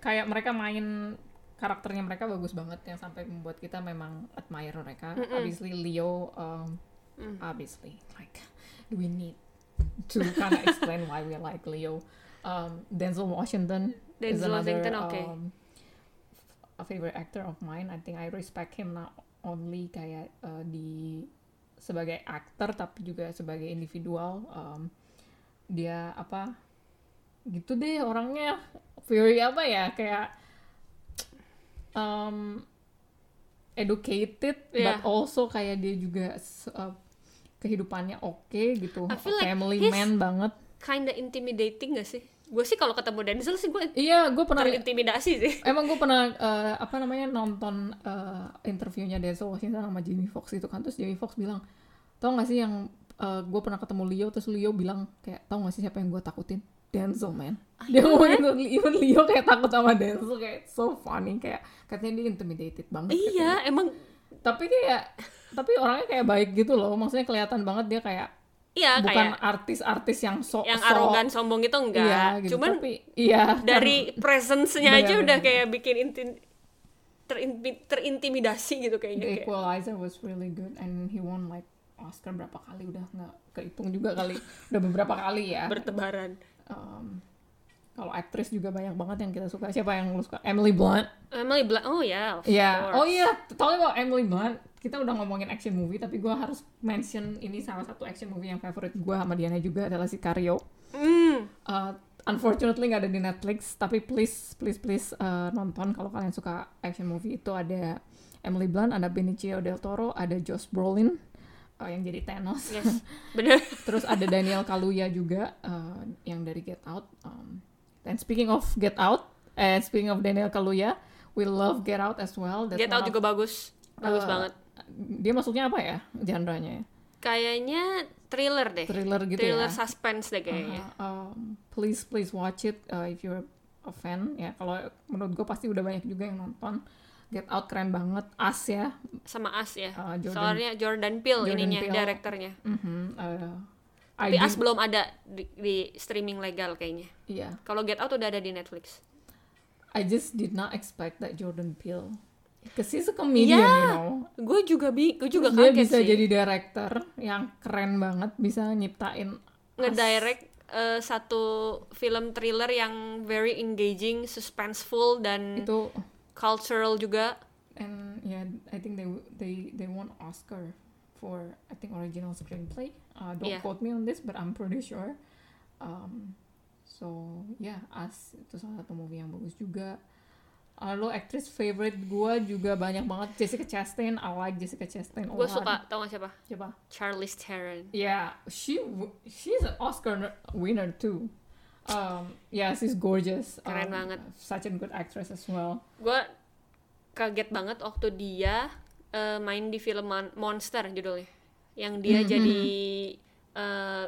kayak mereka main karakternya mereka bagus banget yang sampai membuat kita memang admire mereka. Obviously Leo um, Hmm, obviously like do we need to kind of explain why we like Leo. Um, Denzel Washington is Denzel another Washington, okay. um, a favorite actor of mine. I think I respect him not only kayak uh, di sebagai aktor tapi juga sebagai individual. Um, dia apa gitu deh orangnya very apa ya kayak um, educated Yeah. but also kayak dia juga s- uh, kehidupannya oke gitu I feel like family he's- man banget Kinda intimidating gak sih? Gue sih kalau ketemu Denzel sih gue iya gue pernah terintimidasi <laughs> sih. emang gue pernah eh, apa namanya nonton eh, interviewnya Denzel Washington sama Jamie Foxx itu kan terus Jamie Foxx bilang tau gak sih yang eh, gue pernah ketemu Leo terus Leo bilang kayak tau gak sih siapa yang gue takutin Denzel man Ah, dia iya, ngomong kan? itu even Leo kayak takut sama Denzel kayak it's so funny kayak katanya dia intimidated banget gitu. Iya, emang tapi kayak tapi orangnya kayak baik gitu loh maksudnya kelihatan banget dia kayak iya bukan kayak artis-artis yang sok yang arogan sombong itu enggak. iya gitu Cuman tapi iya <laughs> dari presence-nya aja Benar, udah benar. kayak bikin inti- terinti- terintimidasi gitu kayaknya The kayak. Equalizer was really good and he won like Oscar berapa kali udah nggak kehitung juga kali udah beberapa kali ya bertebaran. Um, kalau aktris juga banyak banget yang kita suka siapa yang lu suka Emily Blunt Emily Blunt, oh ya. of course. Iya. Oh iya, talking about Emily Blunt, kita udah ngomongin action movie, tapi gue harus mention ini salah satu action movie yang favorite gue sama Diana juga adalah Sicario. Hmm, Uh, unfortunately nggak ada di Netflix, tapi please, please, please uh, nonton kalau kalian suka action movie itu ada Emily Blunt, ada Benicio del Toro, ada Josh Brolin uh, yang jadi Thanos, yes. Bener. <laughs> terus ada Daniel Kaluuya juga uh, yang dari Get Out. Um, and speaking of Get Out, and speaking of Daniel Kaluuya, we love Get Out as well. That's Get Out one of juga bagus. Bagus Eh, banget. dia masuknya apa ya genre-nya ya? Kayaknya thriller deh. thriller gitu thriller ya suspense deh kayaknya. Uh-huh. Um, please please watch it uh, if you're a fan ya kalau menurut gue pasti udah banyak juga yang nonton Get Out keren banget As ya Sama As ya. Uh, Jordan- Soalnya Jordan Peele Jordan ininya Peele. direkturnya. Mhm, uh, Tapi ID As belum ada di, di streaming legal kayaknya. yeah. Kalau Get Out udah ada di Netflix. iya, I just did not expect that Jordan Peele Cause he's a comedian you Yeah. know Gue juga bi, gue Iya, juga Terus dia kaget bisa sih. jadi director yang keren banget bisa nyiptain Us. ngedirect eh, satu film thriller yang very engaging, suspenseful dan itu cultural juga. and yeah, I think they they they won Oscar for I think original screenplay. Uh, don't Yeah. quote me on this, but I'm pretty sure. Um, so yeah, Us itu salah satu movie yang bagus juga. Lalu aktris favorite gua juga banyak banget Jessica Chastain. I like Jessica Chastain a Gue lot. suka, tau gak siapa? Coba. Charlize Theron. Yeah, she w- she's an Oscar winner too. Um, yeah, she's gorgeous. Keren Um, banget. Such a good actress as well. Gue kaget banget waktu dia eh, main di film Mon- Monster judulnya, yang dia Mhm. jadi eh,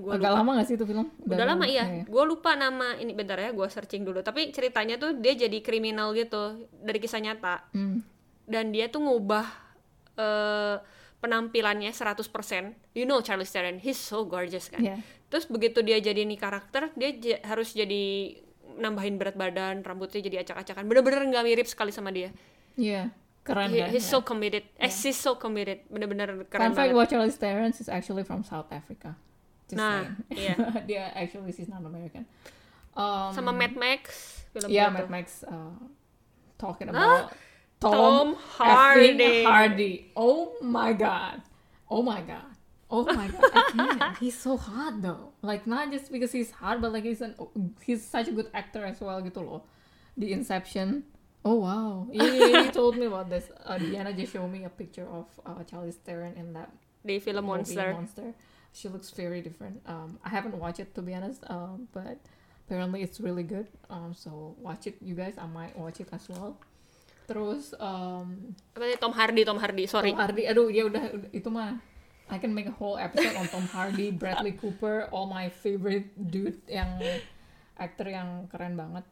gua Hmm. Agak lupa. lama gak sih itu film? Udah lama ya. iya, gue lupa nama ini bentar ya, gue searching dulu. Tapi ceritanya tuh dia jadi kriminal gitu dari kisah nyata. Hmm. dan dia tuh ngubah eh, penampilannya 100%. You know Charlize Theron, he's so gorgeous kan. Yeah. Terus begitu dia jadi nih karakter, dia j- harus jadi nambahin berat badan, rambutnya jadi acak-acakan. Bener-bener nggak mirip sekali sama dia. Iya, keren He- kan? he's ya. so committed. Eh, she's so committed. Bener-bener Fun keren fact banget. about Charlize Theron, she's actually from South Africa. Just Nah, saying. iya. <laughs> Dia actually she's not American. Um, Sama Mad Max, film yeah, itu. Mad Max uh, Ah, talking about Tom, Tom, Hardy. effing Hardy. Oh my god. Oh my god. Oh my god. I can't. he's so hot though. Like not just because he's hot, but like he's an he's such a good actor as well gitu loh. The Inception. Oh wow. You, you, you told me about this. Uh, Diana just showed me a picture of uh, Charlize Theron in that Di film movie, Monster. Monster. She looks very different. Um, I haven't watched it to be honest, um, but apparently it's really good. Um, so watch it, you guys. I might watch it as well. Terus um, Apa sih? Tom Hardy, Tom Hardy, sorry. Tom Hardy, aduh ya udah udah- itu mah I can make a whole episode on Tom Hardy, Bradley Cooper, all my favorite dude yang aktor yang keren banget.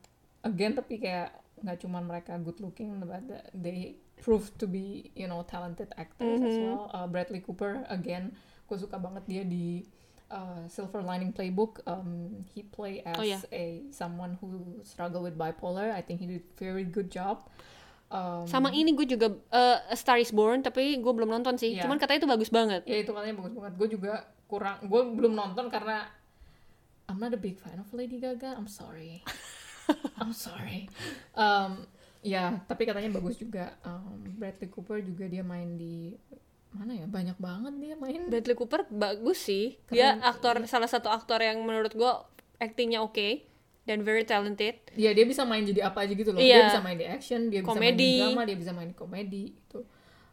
Again tapi kayak nggak cuman mereka good looking, but the- they prove to be you know talented actors as Mhm. well. Uh, Bradley Cooper again, gue suka banget dia di uh, Silver Lining Playbook. Um, he play as Oh, yeah. a someone who struggle with bipolar. I think he did very good job. Um, Sama ini gue juga eh, A Star is Born, tapi gue belum nonton sih. Iya. Cuman katanya itu bagus banget. ya itu katanya bagus banget gue juga kurang gue belum nonton karena I'm not a big fan of Lady Gaga I'm sorry I'm sorry um, ya tapi katanya bagus juga Um, Bradley Cooper juga dia main di mana ya banyak banget dia main Bradley Cooper bagus sih. Keren. Dia aktor salah satu aktor yang menurut gua actingnya oke dan very talented. ya dia bisa main jadi apa aja gitu loh dia Iya. bisa main di action dia Komedi. bisa main di drama dia bisa main di komedi itu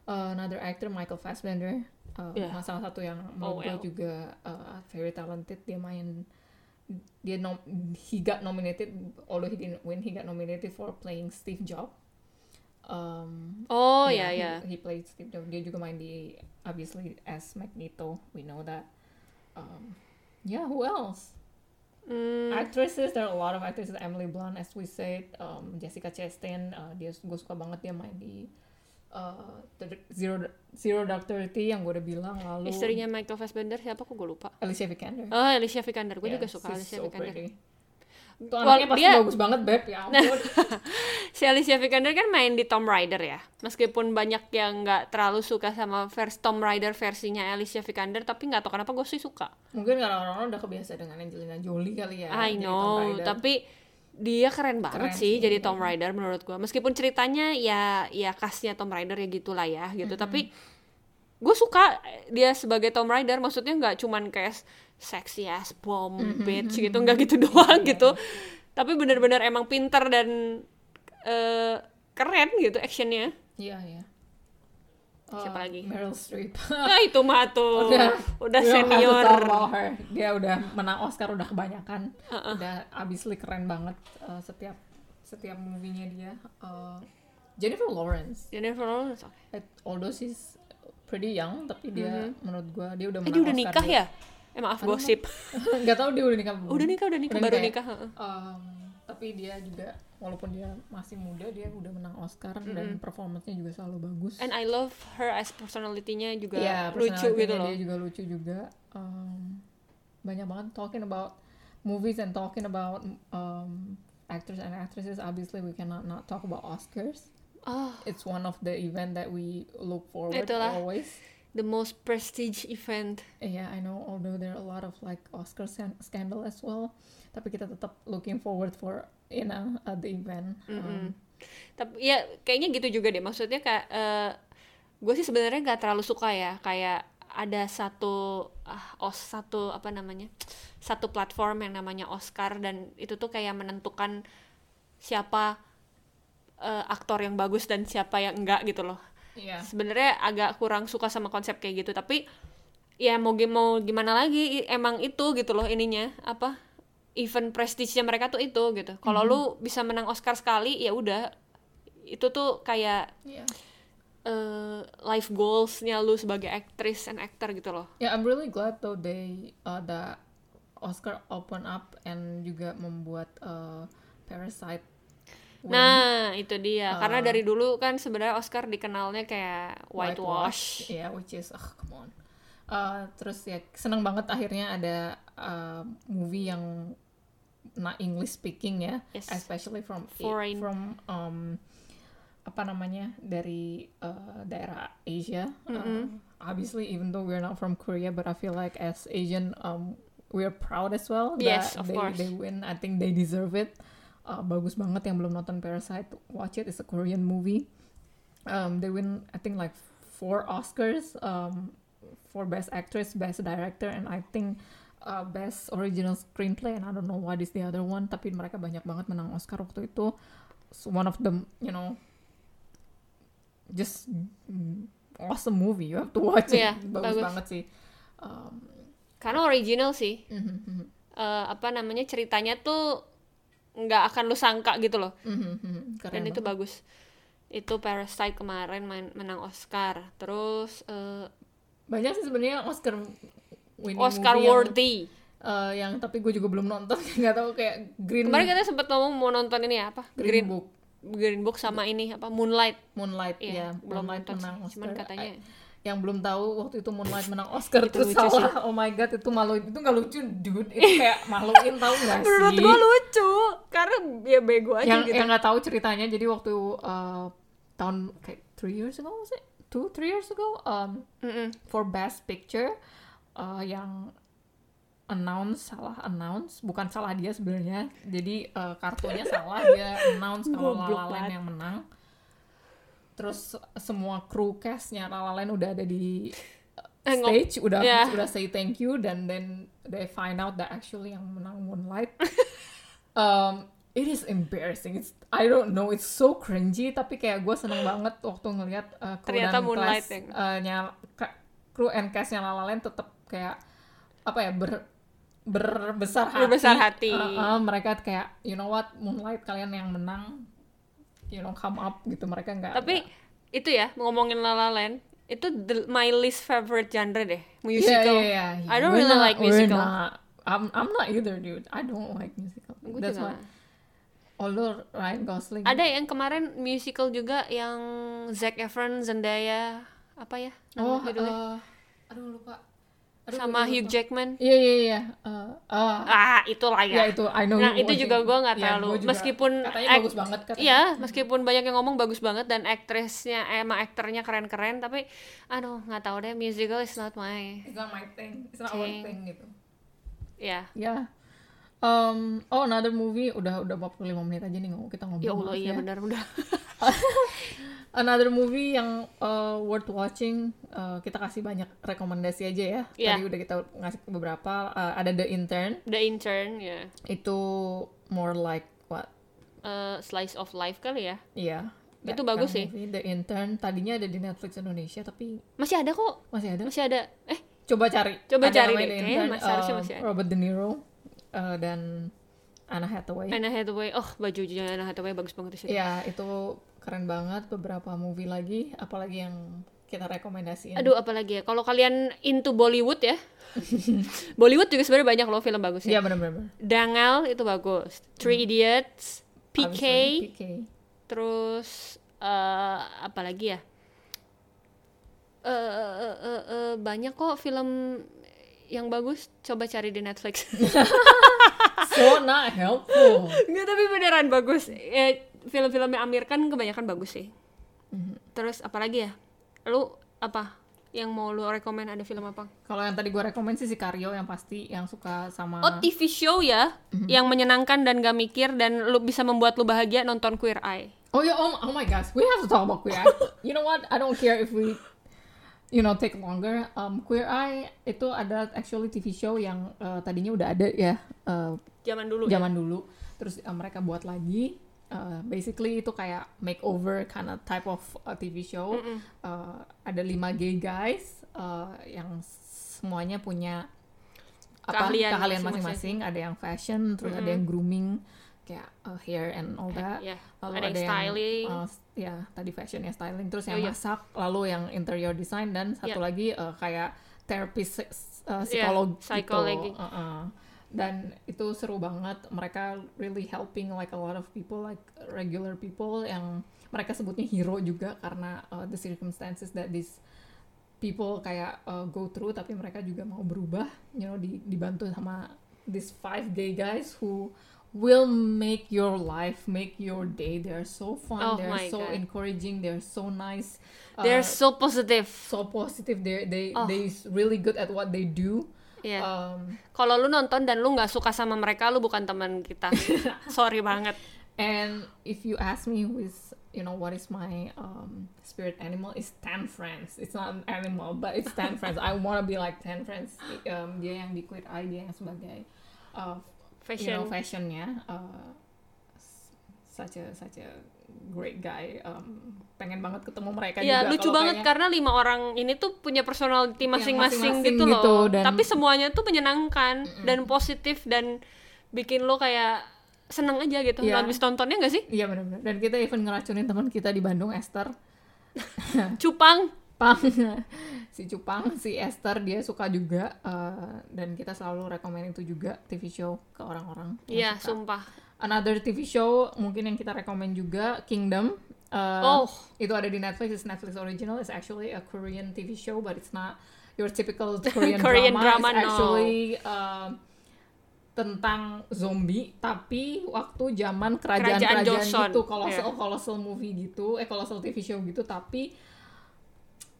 another actor Michael Fassbender uh, Iya. salah satu yang menurut gue OL. juga uh, very talented dia main dia nom he got nominated although he didn't win he got nominated for playing Steve Jobs um, Oh Yeah, ya ya. He, he played Steve Jobs. Dia juga main di obviously as Magneto. We know that. Um, yeah, who else? Hmm, Actresses, there are a lot of actresses. Emily Blunt, as we said, um, Jessica Chastain. Uh, dia gue suka banget dia main di uh, The- Zero Zero Dark Thirty yang gue udah bilang lalu. istrinya Michael Fassbender siapa kok gue lupa. Alicia Vikander. Oh, Alicia Vikander. Gue Yeah, juga suka she's Alicia so Vikander. pretty. Tuh anaknya Well, pasti dia- bagus banget, Beb. Ya ampun. <laughs> Si Alicia Vikander kan main di Tomb Raider ya. Meskipun banyak yang nggak terlalu suka sama vers Tomb Raider versinya Alicia Vikander, tapi nggak tau kenapa gue sih suka. Mungkin karena orang-orang udah kebiasa dengan Angelina Jolie kali ya. I jadi Tomb know, Raider. tapi dia keren banget Keren sih sih, jadi iya. Tomb Raider menurut gua. Meskipun ceritanya ya ya khasnya Tomb Raider ya gitulah ya gitu, tapi gue suka dia sebagai Tomb Raider. Maksudnya nggak cuman kayak sexy ass bomb bitch gitu, nggak gitu <laughs> doang Iya, gitu. Tapi bener-bener emang pinter dan eh, keren gitu actionnya. Iya, iya. Siapa Uh, lagi? Meryl Streep. <laughs> Nah itu mah tuh udah, we don't have to senior. talk about her. Dia udah menang Oscar udah kebanyakan. Udah obviously keren banget uh, setiap setiap movie-nya dia. Uh, Jennifer Lawrence. Jennifer Lawrence. oke. eh, Although she's pretty young, tapi dia menurut gua dia udah Eh menang dia udah Oscar nikah dia. ya? Eh maaf gosip. Nggak tahu dia <laughs> udah nikah ya? belum. Udah nikah, udah nikah, baru nikah. heeh. Um, tapi dia juga walaupun dia masih muda dia udah menang Oscar dan performance-nya juga selalu bagus. And I love her as personality-nya juga Iya, lucu personality-nya gitu loh. Dia juga lucu juga. Um, banyak banget talking about movies and talking about um, actors and actresses. Obviously, we cannot not talk about Oscars. Oh, It's one of the event that we look forward Itulah. always. the most prestige event. Yeah, I know. Although there are a lot of like Oscar scan- scandal as well, tapi kita tetap looking forward for you know at the event. Um, Tapi ya kayaknya gitu juga deh. Maksudnya kayak gue sih sebenarnya nggak terlalu suka ya kayak ada satu ah, os satu apa namanya satu platform yang namanya Oscar dan itu tuh kayak menentukan siapa eh, aktor yang bagus dan siapa yang enggak gitu loh. yeah. sebenarnya agak kurang suka sama konsep kayak gitu tapi ya mau gi- mau gimana lagi i- emang itu gitu loh ininya apa event prestisnya mereka tuh itu gitu kalau lu bisa menang Oscar sekali ya udah itu tuh kayak Yeah. eh, life goalsnya lu sebagai aktris and actor gitu loh Yeah, I'm really glad though they uh, the Oscar open up and juga membuat uh, Parasite. win. nah itu dia karena dari dulu kan sebenarnya Oscar dikenalnya kayak whitewash, Yeah, which is ah come on. Uh, terus ya senang banget akhirnya ada uh, movie yang not English speaking ya, Yes. especially from Foreign. from um, apa namanya dari uh, daerah Asia. Uh, obviously, even though we're not from Korea, but I feel like as Asian, um, we're proud as well. Yes, that of they, course. They win. I think they deserve it. Uh, bagus banget yang belum nonton Parasite, watch it. It's a Korean movie. Um, they win, I think, like four Oscars. Um, for best actress, best director, and I think uh, best original screenplay. And I don't know what is the other one. Tapi mereka banyak banget menang Oscar waktu itu. So one of them, you know, just mm, awesome movie. You have to watch it. Iya, bagus, bagus. banget sih. Um, karena original sih mhm, mhm, Eh, apa namanya ceritanya tuh nggak akan lu sangka gitu loh mhm, mhm. Keren dan itu banget. bagus itu Parasite kemarin main- menang Oscar terus eh, banyak sih sebenarnya Oscar winning Oscar movie yang- worthy eh, yang, tapi gue juga belum nonton <laughs> nggak tahu kayak Green kemarin kita sempat ngomong mau nonton ini ya, apa Green Green Book Green Book sama ini apa Moonlight Moonlight Iya, ya belum Moonlight nonton menang sih. cuman Oscar. Iya katanya I- yang belum tahu waktu itu Moonlight menang Oscar Itu terus lucu sih. salah oh my god itu malu itu nggak lucu dude itu kayak maluin tahu nggak sih <laughs> menurut gua lucu karena dia bego aja yang gitu yang nggak tahu ceritanya jadi waktu uh, tahun kayak three years ago was it two three years ago um, Mm-mm. for best picture uh, yang announce salah announce bukan salah dia sebenarnya jadi uh, kartunya salah dia announce kalau Goblok La La Land banget. yang menang terus semua kru castnya La La Land udah ada di uh, Eh, ngom- stage udah Ya. udah say thank you dan then they find out that actually yang menang Moonlight <laughs> um, it is embarrassing it's I don't know it's so cringy tapi kayak gue seneng banget waktu ngelihat uh, kru Ternyata dan Moonlight cast, yang- uh, nya- ka- kru and castnya La La Land tetap kayak apa ya ber berbesar hati, Berbesar hati. Uh, uh, mereka kayak you know what Moonlight kalian yang menang you know come up gitu mereka nggak tapi itu ya ngomongin La La Land itu the- my least favorite genre Iya, deh Yeah, musical. yeah, yeah. I don't We're really not- like we're musical. not- I'm I'm not either, dude. I don't like musical. Gua That's juga. why. Although Ryan Gosling. Ada yang kemarin musical juga yang Zac Efron, Zendaya, apa ya? nama oh, judulnya? uh, aduh lupa. Aduh, sama gua Hugh lupa. Jackman. Iya, iya, iya. Eh, Ah, ah, itulah ya ya. itu I know. Nah, you itu watching. juga gua nggak Iya, terlalu- gua juga. meskipun katanya act- bagus banget katanya. Iya, meskipun banyak yang ngomong bagus banget dan aktrisnya emang aktornya keren-keren, tapi aduh nggak tahu deh musical is not my. It's not my thing. It's not our Thing. thing gitu. Ya, Ya. Um, oh, another movie udah udah 45 menit aja nih ngomong kita ngomong. ya Allah iya benar <laughs> udah. Another movie yang uh, worth watching, uh, kita kasih banyak rekomendasi aja ya. Iya. Tadi udah kita ngasih beberapa. Uh, ada The Intern, The Intern ya, itu more like what? Eh, slice of life kali ya. Iya. that Itu bagus kind sih. of movie. The Intern tadinya ada di Netflix Indonesia tapi Masih ada kok, masih ada. masih ada. Eh, Coba cari. Coba Ada cari deh, namanya The kayaknya Intern, masih- harusnya uh, masih ada. Robert De Niro uh, dan Anna Hathaway. Anna Hathaway. Oh, bajunya Anna Hathaway bagus banget di situ. Iya, itu keren banget beberapa movie lagi, apalagi yang kita rekomendasiin. Aduh, apalagi ya? Kalau kalian into Bollywood <laughs> ya, Bollywood juga sebenarnya banyak loh film bagus ya. Hmm. Iya benar-benar. Dangal itu bagus, Three Idiots, PK, PK. terus eh apalagi ya? Eh, eh, eh, eh, eh, banyak kok film yang bagus. Coba cari di <laughs> Netflix. So not helpful. Nggak, tapi beneran bagus. Eh, film-filmnya Amir kan kebanyakan bagus sih. Terus apalagi ya? Lu apa yang mau lu rekomen ada film apa? Kalau yang tadi gue rekomen sih Sicario yang pasti yang suka sama Oh TV show ya, Mm-hmm. yang menyenangkan dan gak mikir dan lu bisa membuat lu bahagia nonton Queer Eye. Oh ya, oh, oh my gosh, we have to talk about Queer Eye. <laughs> you know what? I don't care if we, you know, take longer. Um, Queer Eye itu ada actually TV show yang uh, tadinya udah ada ya uh, Zaman dulu. ya? zaman dulu. Terus uh, mereka buat lagi. Uh, basically itu kayak makeover kind of type of uh, TV show. Uh, ada lima gay guys uh, yang semuanya punya apa Keahlian keahlian, masing-masing. masing-masing. Ada yang fashion, terus ada yang grooming kayak uh, hair and all that. Ya, Lalu ada yang styling. uh, s- ya tadi fashionnya styling, terus Oh, yang iya. masak, lalu yang interior design dan Iya. satu lagi uh, kayak terapis uh, Iya, psikolog gitu. psikologi. Uh-uh. Dan itu seru banget. Mereka really helping like a lot of people, like regular people yang mereka sebutnya hero juga karena uh, the circumstances that these people kayak uh, go through tapi mereka juga mau berubah you know di- dibantu sama these five gay guys who will make your life make your day they're so fun Oh my they're so God. encouraging they're so nice uh, They're so positive. so positive they they Oh. they really good at what they do Ya. um, Kalau lu nonton dan lu nggak suka sama mereka, lu bukan teman <laughs> kita. Sorry banget. and if you ask me who is you know what is my um, spirit animal it's ten friends it's not an animal but it's ten friends I want to be like ten friends um, dia yang di Queer Eye dia yang sebagai uh, you Fashion. know fashionnya uh, s- such a such a great guy um, pengen banget ketemu mereka Ya, juga lucu kalau banget kayaknya- karena lima orang ini tuh punya personality masing-masing Iya, masing-masing gitu loh. gitu, dan- Tapi semuanya tuh menyenangkan dan positif dan bikin lo kayak seneng aja gitu. Iya. Habis tontonnya nggak sih? iya benar-benar dan kita even ngeracunin teman kita di Bandung Esther Iya. Cupang. Pang <laughs> si Cupang si Esther dia suka juga eh, dan kita selalu rekomen itu juga TV show ke orang-orang Iya, yang suka. sumpah. another TV show mungkin yang kita rekomen juga Kingdom Eh, Oh. itu ada di Netflix it's Netflix original it's actually a Korean TV show but it's not your <laughs> typical Korean, Korean drama, drama, it's no. actually um, tentang zombie tapi waktu zaman Kerajaan kerajaan-kerajaan Joseon. Iya. gitu kolosal kolosal movie gitu eh kolosal TV show gitu tapi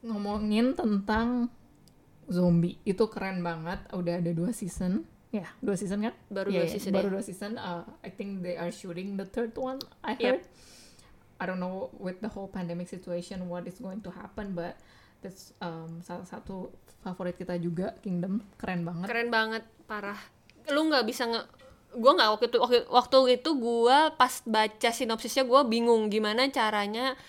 ngomongin tentang zombie itu keren banget udah ada dua season ya dua season kan Baru dua Iya, iya, season baru ya. dua season Uh, I think they are shooting the third one I Yep. heard I don't know with the whole pandemic situation what is going to happen but that's um, salah satu favorit kita juga Kingdom keren banget keren banget parah lu nggak bisa nge gue nggak waktu itu waktu, waktu itu gue pas baca sinopsisnya gue bingung gimana caranya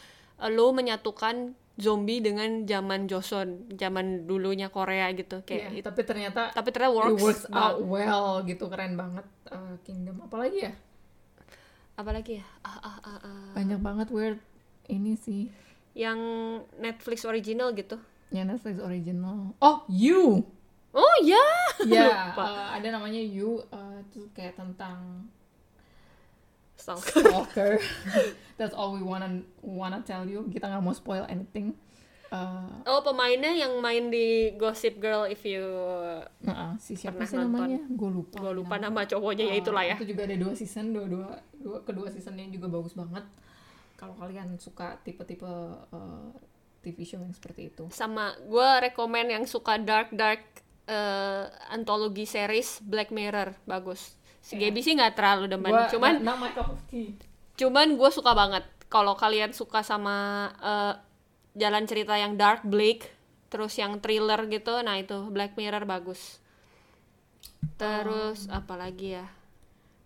eh, lu menyatukan zombie dengan zaman Joseon zaman dulunya Korea gitu Iya, kayak itu tapi ternyata tapi ternyata it works, Oh, works out banget. well gitu keren banget uh, Kingdom apalagi ya apalagi ya ah, ah, ah, ah. banyak banget weird ini sih yang Netflix original gitu. Ya Netflix original. Oh, <laughs> You. Oh ya, Ya, Lupa. eh, ada namanya You eh, itu kayak <laughs> tentang stalker. stalker. <laughs> That's all we wanna wanna tell you. Kita nggak mau spoil anything. Eh, Oh pemainnya yang main di Gossip Girl if you Nah, si siapa Pernah sih nonton. namanya? Gue lupa. gua lupa iya. nama cowoknya ya itulah ya. Itu juga ada dua season, dua-dua, dua, kedua seasonnya juga bagus banget. Kalau kalian suka tipe-tipe eh, TV show yang seperti itu. Sama gua rekomen yang suka dark dark eh, antologi series Black Mirror bagus. Si Gaby sih nggak terlalu demen. Iya. Gua- cuman nah, my cup of tea. cuman gue suka banget kalau kalian suka sama eh, jalan cerita yang dark bleak terus yang thriller gitu nah itu Black Mirror bagus Oh. terus apalagi ya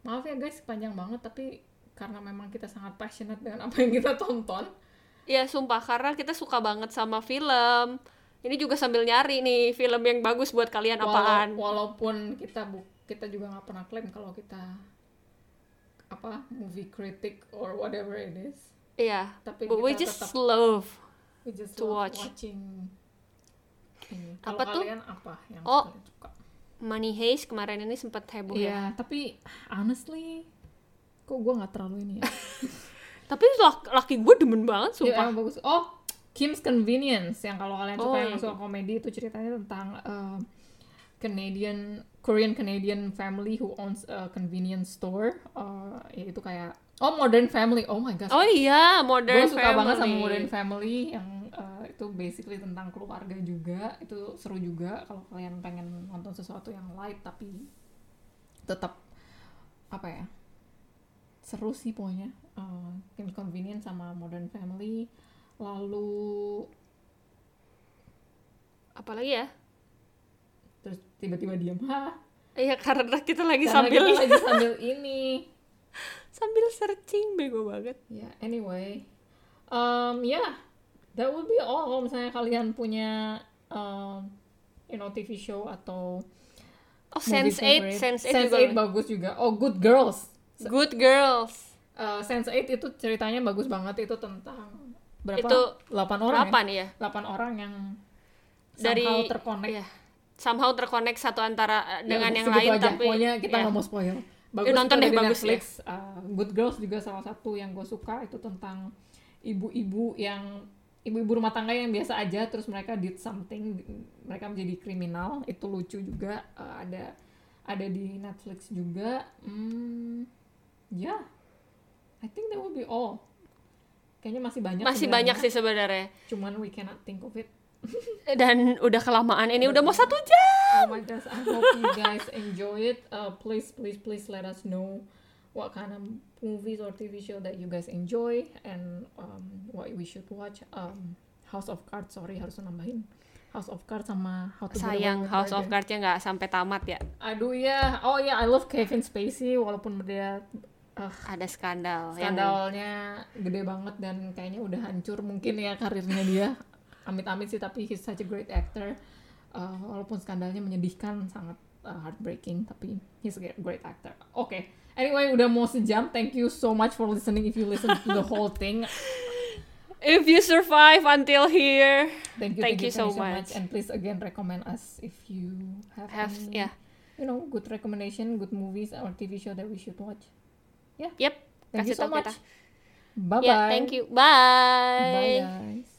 Maaf ya guys, panjang banget tapi karena memang kita sangat passionate dengan apa yang kita tonton. ya sumpah karena kita suka banget sama film ini juga sambil nyari nih film yang bagus buat kalian Wala- apaan Walaupun kita bu kita juga nggak pernah klaim kalau kita apa movie critic or whatever it is. iya Tapi but we kita just tetap- love We just to love watch. watching ini. Apa Kalau tuh? kalian apa yang Oh. kalian suka? Money Heist kemarin ini sempat heboh ya Iya, tapi honestly kok gue nggak terlalu ini ya. tapi laki, laki gue demen banget <laughs> Iya, sumpah emang bagus. Oh, Kim's Convenience yang kalau kalian suka Oh, yang iya. suka komedi itu ceritanya tentang eh, Canadian Korean Canadian family who owns a convenience store. Eh, ya itu kayak oh Modern Family. Oh my god. oh iya gue Modern suka Family banget sama Modern Family yang uh, itu basically tentang keluarga juga itu seru juga kalau kalian pengen nonton sesuatu yang light tapi tetap apa ya seru sih pokoknya uh, inconvenient sama Modern Family lalu apalagi ya terus tiba-tiba diam ha Iya karena kita lagi Karena sambil kita lagi sambil ini sambil searching bego banget. Ya, anyway. Um, yeah, that would be all. Kalau misalnya kalian punya, um, you know, TV show atau Oh movie Sense 8, favorite. Sense 8 Sense juga. 8 bagus juga. Oh, Good Girls. Good Girls. Uh, Sense 8 itu ceritanya bagus banget. Itu tentang berapa? Itu 8 orang ya? 8 ya. 8 orang yang Dari somehow terkonek. Iya. Somehow terkonek satu antara eh, Ya, dengan udah, yang segitu lain aja. tapi pokoknya kita iya. nggak mau spoil bagus Ya, nonton itu ada deh, di bagus Netflix Uh, Good Girls juga salah satu yang gue suka itu tentang ibu-ibu yang ibu-ibu rumah tangga yang biasa aja terus mereka did something mereka menjadi kriminal itu lucu juga Uh, ada ada di Netflix juga hmm, ya I think that will be all kayaknya masih banyak masih sebenarnya, banyak sih sebenarnya. cuman we cannot think of it Dan udah kelamaan ini udah mau satu jam. Oh my gosh, I hope you guys enjoy it. Uh, please, please, please let us know what kind of movies or TV show that you guys enjoy and um, what we should watch. Um, House of Cards, sorry harus nambahin. House of Cards sama How to Get Away Sayang with House of Murder. Cards-nya nggak sampai tamat ya. Aduh ya, oh ya, I love Kevin Spacey walaupun dia uh, Ada skandal. ya Yang... skandalnya gede banget dan kayaknya udah hancur mungkin ya karirnya dia amit-amit sih tapi he's such a great actor Uh, walaupun skandalnya menyedihkan sangat uh, heartbreaking tapi he's a great actor oke anyway udah mau sejam thank you so much for listening if you listen to the <laughs> whole thing If you survive until here, thank you Thank you so much. and please again recommend us if you have, have any, ya. you know good recommendation good movies or TV show that we should watch Yep. thank Kasih you so tau much kita. bye bye Ya, thank you. bye guys